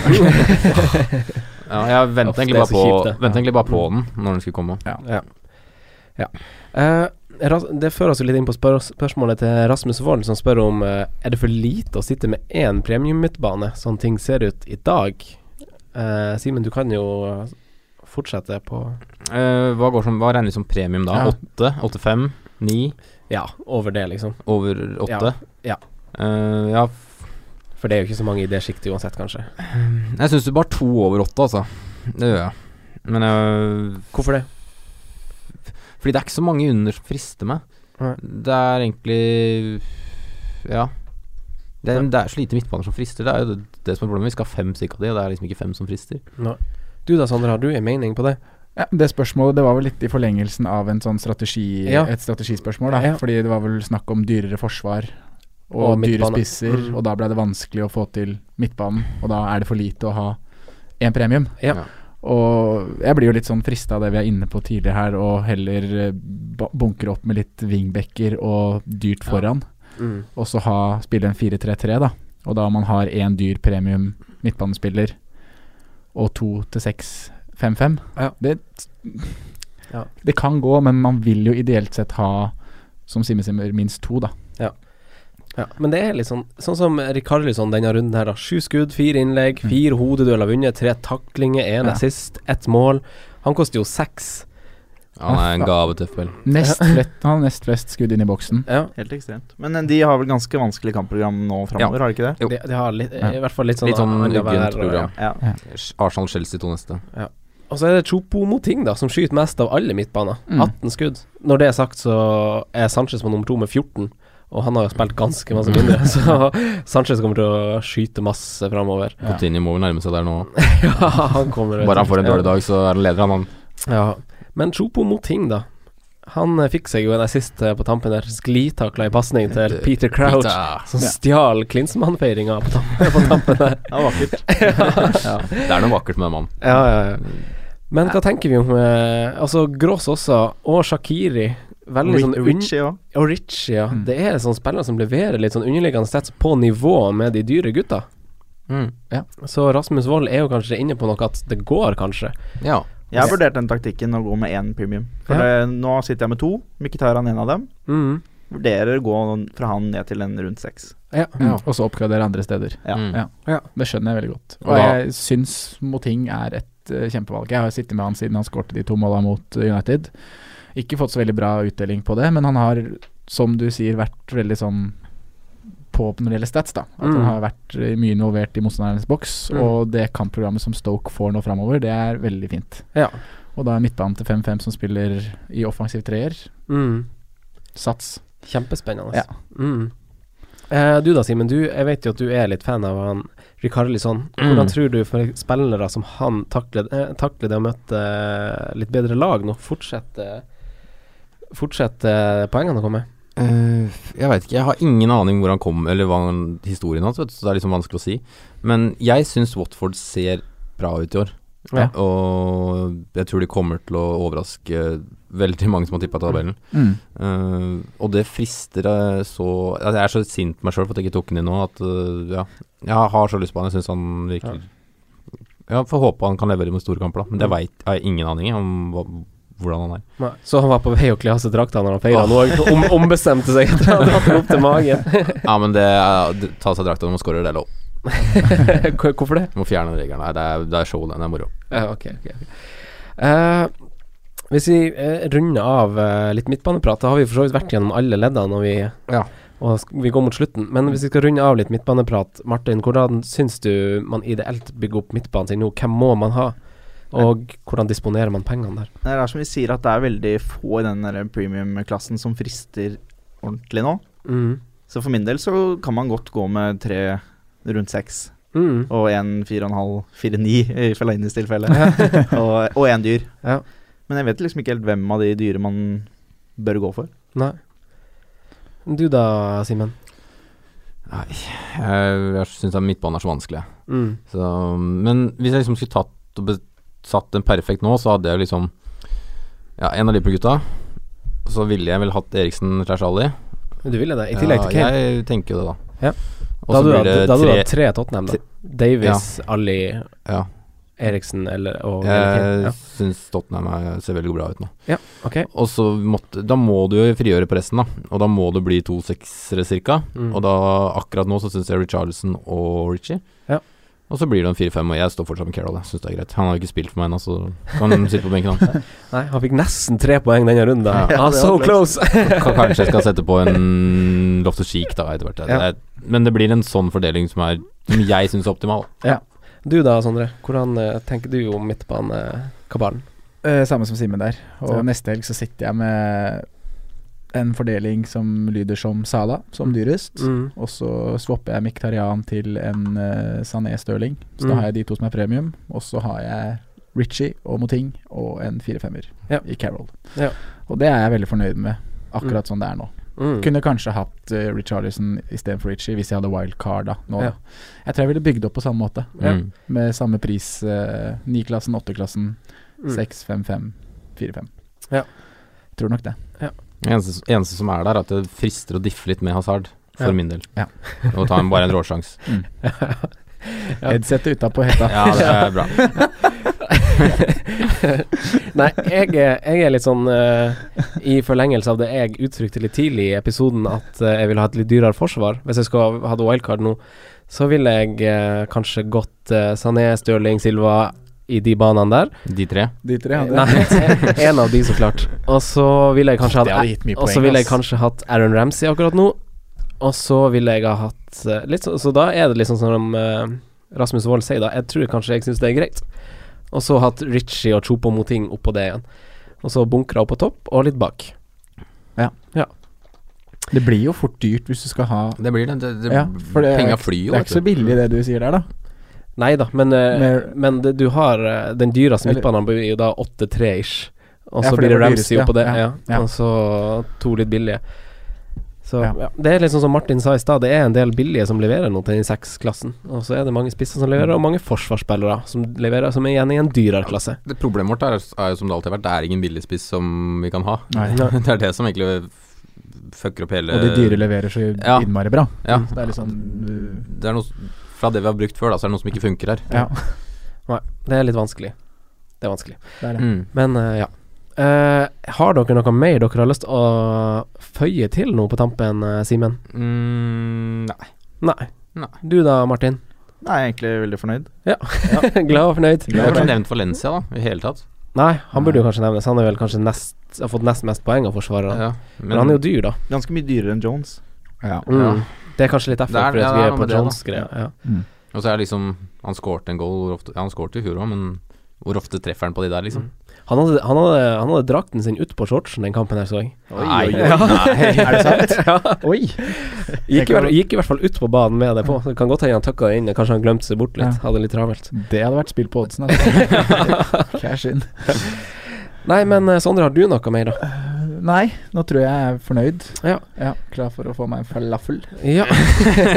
Ja, jeg
Uff,
ventet
det er
egentlig, bare
så
på,
kjipt, det.
ventet egentlig bare på
Mm.
den når den skulle komme.
Ja. ja. Eh, ras- det fører oss jo litt inn på spør spørsmålet til Rasmus Wold, som spør om eh, Er det for lite å sitte med én premium-midtbane, sånn ting ser ut i dag? Eh, Simen, du kan jo eh, fortsette på
Eh, hva, går som, hva regner som premium da?
Ja.
Åtte? Åtte-fem? Ni?
Ja, over det, liksom.
Over åtte?
Ja.
Eh, ja,
For det er jo ikke så mange i det sjiktet uansett, kanskje.
Jeg syns du bare to over åtte, altså. Det gjør jeg. Men øh,
Hvorfor det?
Fordi det er ikke så mange under som frister meg.
Nei.
Det er egentlig Ja. Det er, det er så lite midtbaner som frister. Det er jo det, det som er problemet. Vi skal ha fem stykker av de, og det er liksom ikke fem som frister.
Du da, Sondre, har du en mening på det?
Ja, det spørsmålet det var vel litt i forlengelsen av en sånn strategi,
Ja.
et strategispørsmål. da
Ja.
Fordi det var vel snakk om dyrere forsvar og,
Og
dyre
midtbane.
spisser.
Mm.
Og da ble det vanskelig å få til midtbanen, og da er det for lite å ha én premium.
Ja.
Ja.
Og jeg blir jo litt sånn frista av det vi er inne på tidligere her, og heller eh, ba- bunkre opp med litt wingbacker og dyrt
Ja.
foran. Og så ha, spille en 4-3-3, da. Og da man har én dyr premium midtbanespiller og to til seks 5-5.
Ja.
Det,
Ja.
det kan gå, men man vil jo ideelt sett ha, som Simen Simmer, minst to, da.
Ja, men det er litt sånn Sånn som Rikarlisson denne runden her, da. Sju skudd, fire innlegg,
Mm.
fire hodedueller vunnet, tre taklinger, én
Ja.
assist, ett mål. Han koster jo seks.
Ja, han er en gave til FPL.
Nest flest, han har nest flest skudd inn i boksen.
Ja,
Helt ekstremt. Men eh, de har vel ganske vanskelig kampprogram nå framover, har de ikke det?
Jo.
de, de har litt,
Ja.
i hvert fall litt sånn
Litt sånn
annenhver-
uggent program.
Ja.
Arsenal-Chelsea to neste.
Og så er det Chopo Moting, da, som skyter mest av alle midtbaner.
Mm.
18 skudd. Når det er sagt, så er Sanchez på nummer to med 14, og han har jo spilt ganske masse mindre, [laughs] så Sanchez kommer til å skyte masse framover. [laughs]
Ja.
Coutinho må vel nærme seg der nå.
Ja, han kommer
Bare han får en
Ja.
dårlig dag, så er han leder, han. han.
Ja, men Chopo Moting da Han eh, fikk seg jo en assist eh, på tampen der Sklitakla i passning til Peter Crouch
Peter.
Som
Ja.
stjal Klinsmann-feiringa på, tam [laughs] på tampen der
Det var vakkert.
Ja. Det er noe vakkert med den mannen.
ja, ja, ja. Men hva tenker vi om eh, Altså Gross også Og Shakiri Veldig sånn
Ri-
un-
Ritchie også.
Og Ritchie, ja
Mm.
Det er sånn spillere som leverer litt sånn underliggende sett På nivå med de dyre gutta
Mm.
Så Rasmus Wold er jo kanskje inne på noe At det går kanskje
Ja.
Jeg har vurdert den taktikken å gå med én premium. For eh, nå sitter jeg med to. Mkhitaran en av dem.
mm.
Vurderer å gå fra han ned til en rundt seks.
Ja,
Mm. Og så oppgradere andre steder.
Ja.
Mm.
Ja.
Ja.
Det skjønner jeg veldig godt.
Og
Og
da-
jeg syns Moting er et eh, kjempevalg. Jeg har jo sittet med han siden han skårte de to måla mot eh, United. Ikke fått så veldig bra utdeling på det, men han har, som du sier, vært veldig sånn på når det gjelder stats, da. At
Mm.
han har vært eh, mye involvert i motstanderens boks.
Mm.
Og det kampprogrammet som Stoke får nå framover, det er veldig fint.
Ja.
Og da er midtbanen til 5-5 som spiller i offensiv treer.
mm.
Sats.
Kjempespennende.
Ja.
Mm. Eh, du da, Simen. Du, jeg vet jo at du er litt fan av han Rikarlison. Hvordan
Mm.
tror du for spillere som han takler, eh, takler det å møte eh, litt bedre lag nå? Fortsetter fortsetter poengene å komme?
Eh, jeg veit ikke. Jeg har ingen aning hvor han kom, eller hva han, historien hans, vet du, så det er liksom vanskelig å si. Men jeg syns Watford ser bra ut i år.
Ja.
Og jeg tror de kommer til å overraske veldig mange som har tippa tabellen. Eh, og det frister eh, så altså, Jeg er så sint på meg sjøl for at jeg ikke tok den inn nå, at eh, ja. Jeg har så lyst på han. Jeg syns han virker Ja, får håpe han kan levere mot store kamper, da. Men det
Mm.
veit jeg ingen aning om hva, hvordan han er.
Så han var på vei å kle av seg drakta når han feira nå, og om, ombestemte seg etter at han hadde hatt den opp til magen.
Ja, men det, er- det Ta av seg drakta når man scorer, det er lov.
Hvor- Hvorfor det?
Du må fjerne den regelen. Nei, det er, det er show, den. Det er moro.
Ja, ok, ok, ok. Eh, Hvis vi eh, runder av eh, litt midtbaneprat, da har vi for så vidt vært gjennom alle leddene, og vi,
Ja.
og sk- vi går mot slutten. Men hvis vi skal runde av litt midtbaneprat, Martin, hvordan syns du man ideelt bygger opp midtbanen sin nå? Hvem må man ha? Og hvordan disponerer man pengene der?
Det er som vi sier at det er veldig få i den der premium-klassen som frister ordentlig nå.
Mm.
Så for min del så kan man godt gå med tre rundt seks,
Mm.
og en fire og en halv, fire ni i Felainis tilfelle, [laughs] og, og en dyr.
Ja.
Men jeg vet liksom ikke helt hvem av de dyre man bør gå for.
Nei. Du da, Simen?
Jeg, jeg syns midtbanen er så vanskelig.
Mm.
Så, men hvis jeg liksom skulle tatt og besatt en perfekt nå, så hadde jeg jo liksom Ja, en av Liverpool-gutta. Så ville jeg vel hatt Eriksen slash Ali.
Du ville det, i tillegg til Kane.
Ja, jeg tenker jo det, da.
Ja. da
Og så
hadde du
blir det
hatt- da hadde du
tre
hatt tre Tottenham, da. Davies, Ali,
Ja.
Eriksen eller, og
Jeg
Kane. Ja.
syns Tottenham er, ser veldig bra ut nå.
Ok.
Og så måtte, Da må du jo frigjøre på resten, da. Og da må det bli to seksere, cirka.
Mm.
Og da, akkurat nå så syns jeg Richarlison og Richie.
Ja.
Og så blir det en 4-5, og jeg står fortsatt med Carroll. Jeg syns det er greit. Han har jo ikke spilt for meg ennå, så kan han sitte på benken,
[laughs]
han.
Nei, han fikk nesten tre poeng denne runden. da.
Ja,
ah,
det
so
var
close! [laughs]
Ka- Kanskje jeg skal sette på en Loftus Cheek da, etter hvert. Det er- Men det blir en sånn fordeling som, er, som jeg syns er optimal.
Du da, Sondre. Hvordan eh, tenker du om midtbanekabalen?
Eh, samme som Simen der. Og
Ja.
neste helg så sitter jeg med en fordeling som lyder som Sala, som
Mm.
dyrest.
Mm.
Og så swapper jeg Miktarian til en eh, Sané Stirling. Så
Mm.
da har jeg de to som er premium. Og så har jeg Ritchie og Moting og en firefemmer
Ja.
i Carol.
Ja.
Og det er jeg veldig fornøyd med, akkurat sånn det er nå.
Mm.
Kunne kanskje hatt uh, Richarlison istedenfor Ritchie hvis jeg hadde wildcard da. Nå,
Ja.
da. Jeg tror jeg ville bygd opp på samme måte,
Ja.
Mm.
med samme pris. eh, 9-klassen, 8-klassen, 6, 5, 5, 4, 5.
Mm. Ja.
Tror nok det.
Det eneste, eneste som er der, er at det frister å diffe litt med Hazard, for
Ja.
min del.
Ja.
[laughs] Og ta en, bare en råsjans.
Ja.
Headsetet Mm. utapå hetta.
Ja, det er bra.
[laughs] Nei, jeg, er- jeg er litt sånn eh, I forlengelse av det jeg uttrykte litt tidlig i episoden, at eh, jeg vil ha et litt dyrere forsvar. Hvis jeg skal ha det wildcard nå, så ville jeg eh, kanskje gått eh, Sané, Stirling, Silva i de banene der.
De tre.
[laughs] De tre
[laughs]
hadde
Nei, en av de, så klart. Og så ville jeg kanskje
Det
hatt
hadde gitt mye
Og så
poeng,
ville jeg
ass.
kanskje hatt Aaron Ramsey akkurat nå. Og så ville jeg ha hatt eh, litt så, så da er det liksom sånn som eh, Rasmus Wold sier, da. Jeg tror kanskje jeg syns det er greit. Og så hatt Ritchie og Chopo Moting oppå det igjen. Og så bunkra opp på topp og litt bak.
Det blir jo fort dyrt hvis du skal ha
Det blir det. det, det
Ja, for det er
Penga
ikke-
flyr jo.
Det er ikke så
vet du.
billig det du sier der, da.
Nei da, men, eh,
Mer-
men det, du har eh, den dyreste
Eller-
midtbanen blir jo da 8-3 ish. Og
Ja,
så
for det
blir det
var
Ramsey
dyrest, ja,
oppå det.
ja,
Ja,
ja.
Og så to litt billige. Så ja.
Ja.
Det er litt sånn som Martin sa i stad, det er en del billige som leverer nå til den seks-klassen. Og så er det mange spisser som leverer, og mange forsvarsspillere som leverer, som er igjen i en dyrere klasse.
Det Problemet vårt er, er jo som det alltid har vært, det er ingen billigspiss som vi kan ha.
Nei.
Ja.
[laughs] Det er det som egentlig fucker opp hele
Og de dyre leverer så
Ja. liksom-
innmari bra.
Ja.
Så det er litt sånn uh,
Det er noe s- Fra det vi har brukt før, da, så er det noe som ikke funker her.
Ja,
Det er litt vanskelig. Det er vanskelig.
det er det.
Mm.
Men eh, ja. Eh, har dere noe mer dere har lyst til å føye til nå på tampen, eh, Simen?
Mm, nei.
Nei.
Nei.
Du da, Martin?
Nei, jeg er egentlig veldig fornøyd.
[laughs] Glad og fornøyd?
Jeg har ikke nevnt Valencia, da, i hele tatt.
Nei, han burde jo kanskje nevnes. Han er vel kanskje nest, har fått nest mest poeng av forsvarerne.
Ja,
Men han er jo dyr, da.
Ganske mye dyrere enn Jones.
Ja.
Mm.
Ja.
Det er kanskje litt derfor
Det er-
fordi
ja,
at vi
det er
er
noe
på
med det, da.
Jones-greia. Ja.
Mm.
Og så er det liksom Han skårte en goal hvor ofte, Ja, han skårte i fjor òg, men hvor ofte treffer han på de der,
Mm.
liksom?
Han, hadde- han, hadde- han hadde drakten sin utpå shortsen den kampen her, så
[laughs]
jeg.
Nei,
oi, oi.
ja. nei.
Er det sant?
Ja.
Oi!
Gikk, i hvert- gikk i hvert fall ut på banen med det på. Så det kan godt hende han takka det inn. Kanskje han glemte seg bort litt.
Ja.
Hadde litt travelt.
Det hadde vært spill på oddsen. altså. Cash in.
Nei, men eh, Sondre, har du noe mer, da?
Nei, nå tror jeg jeg er fornøyd.
Ja.
Klar for å få meg en falafel.
Ja.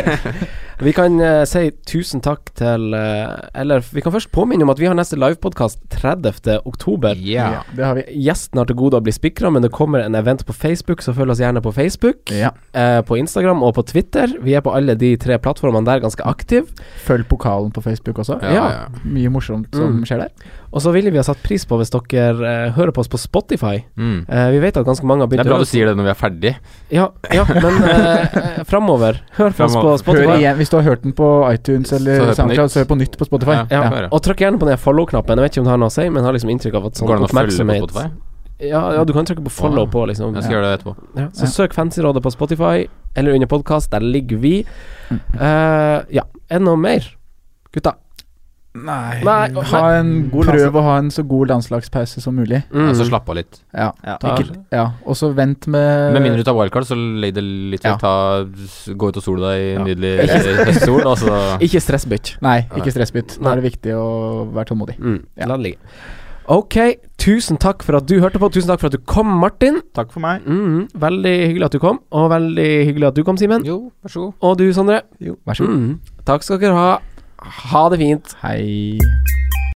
[laughs] vi kan eh, si tusen takk til eh, Eller vi kan først påminne om at vi har neste livepodkast 30. oktober.
Ja.
Det har vi.
Gjesten har til gode å bli spikra, men det kommer en event på Facebook, så følg oss gjerne på Facebook,
Ja.
eh, på Instagram og på Twitter. Vi er på alle de tre plattformene der ganske aktive.
Følg pokalen på Facebook også.
Ja, ja.
Mye morsomt som
Mm.
skjer der.
Og så ville vi ha satt pris på hvis dere eh, hører på oss på Spotify.
Mm.
Eh, vi vet at ganske mange har
Det
begynt
er bra
å
du sier det når vi er ferdig.
Ja, ja,
[laughs]
men eh, eh, framover. Hør på oss på
Framover.
Spotify.
Hør igjen, Hvis du har hørt den på iTunes
Så hør
eller
på
SoundCloud,
nytt.
så hør på nytt på Spotify.
Ja.
Ja,
Hør, ja.
og trykk gjerne på den follow-knappen. Jeg vet ikke om det har noe å si, men jeg har liksom inntrykk av at sånn
Går det an å følge på
oppmerksomhet
Spotify?
Ja, ja, du kan trykke på follow
Wow.
på, liksom.
Jeg skal gjøre det etterpå.
Ja, så
Ja.
søk Fancyrådet på Spotify eller under podkast. Der ligger vi.
Mm.
Eh, ja. Er det noe mer, gutta?
Nei,
Nei, og-
ha en,
God
prøv
landslag-
å ha en så god landslagspause som mulig.
Mm.
Altså slapp av litt.
Ja,
Ja.
ta- ja. Og så vent med
Med mindre du tar wildcard, så legg det litt til.
Eh, Ja.
Ta, s- gå ut og sol deg i
Ja. [laughs]
nydelig høstsol, altså. og så
Ikke stress, bitch.
Nei,
Nei.
ikke stressbytt. Da er det viktig å være tålmodig.
Mm.
Ja.
La det ligge. Ok, tusen takk for at du hørte på. Tusen takk for at du kom, Martin.
Takk for meg.
Mm. Veldig hyggelig at du kom, og veldig hyggelig at du kom, Simen.
Jo, vær så god. Mm.
Og du, Sondre.
Vær så god.
Mm. Takk skal dere ha. Ha det fint.
Hei.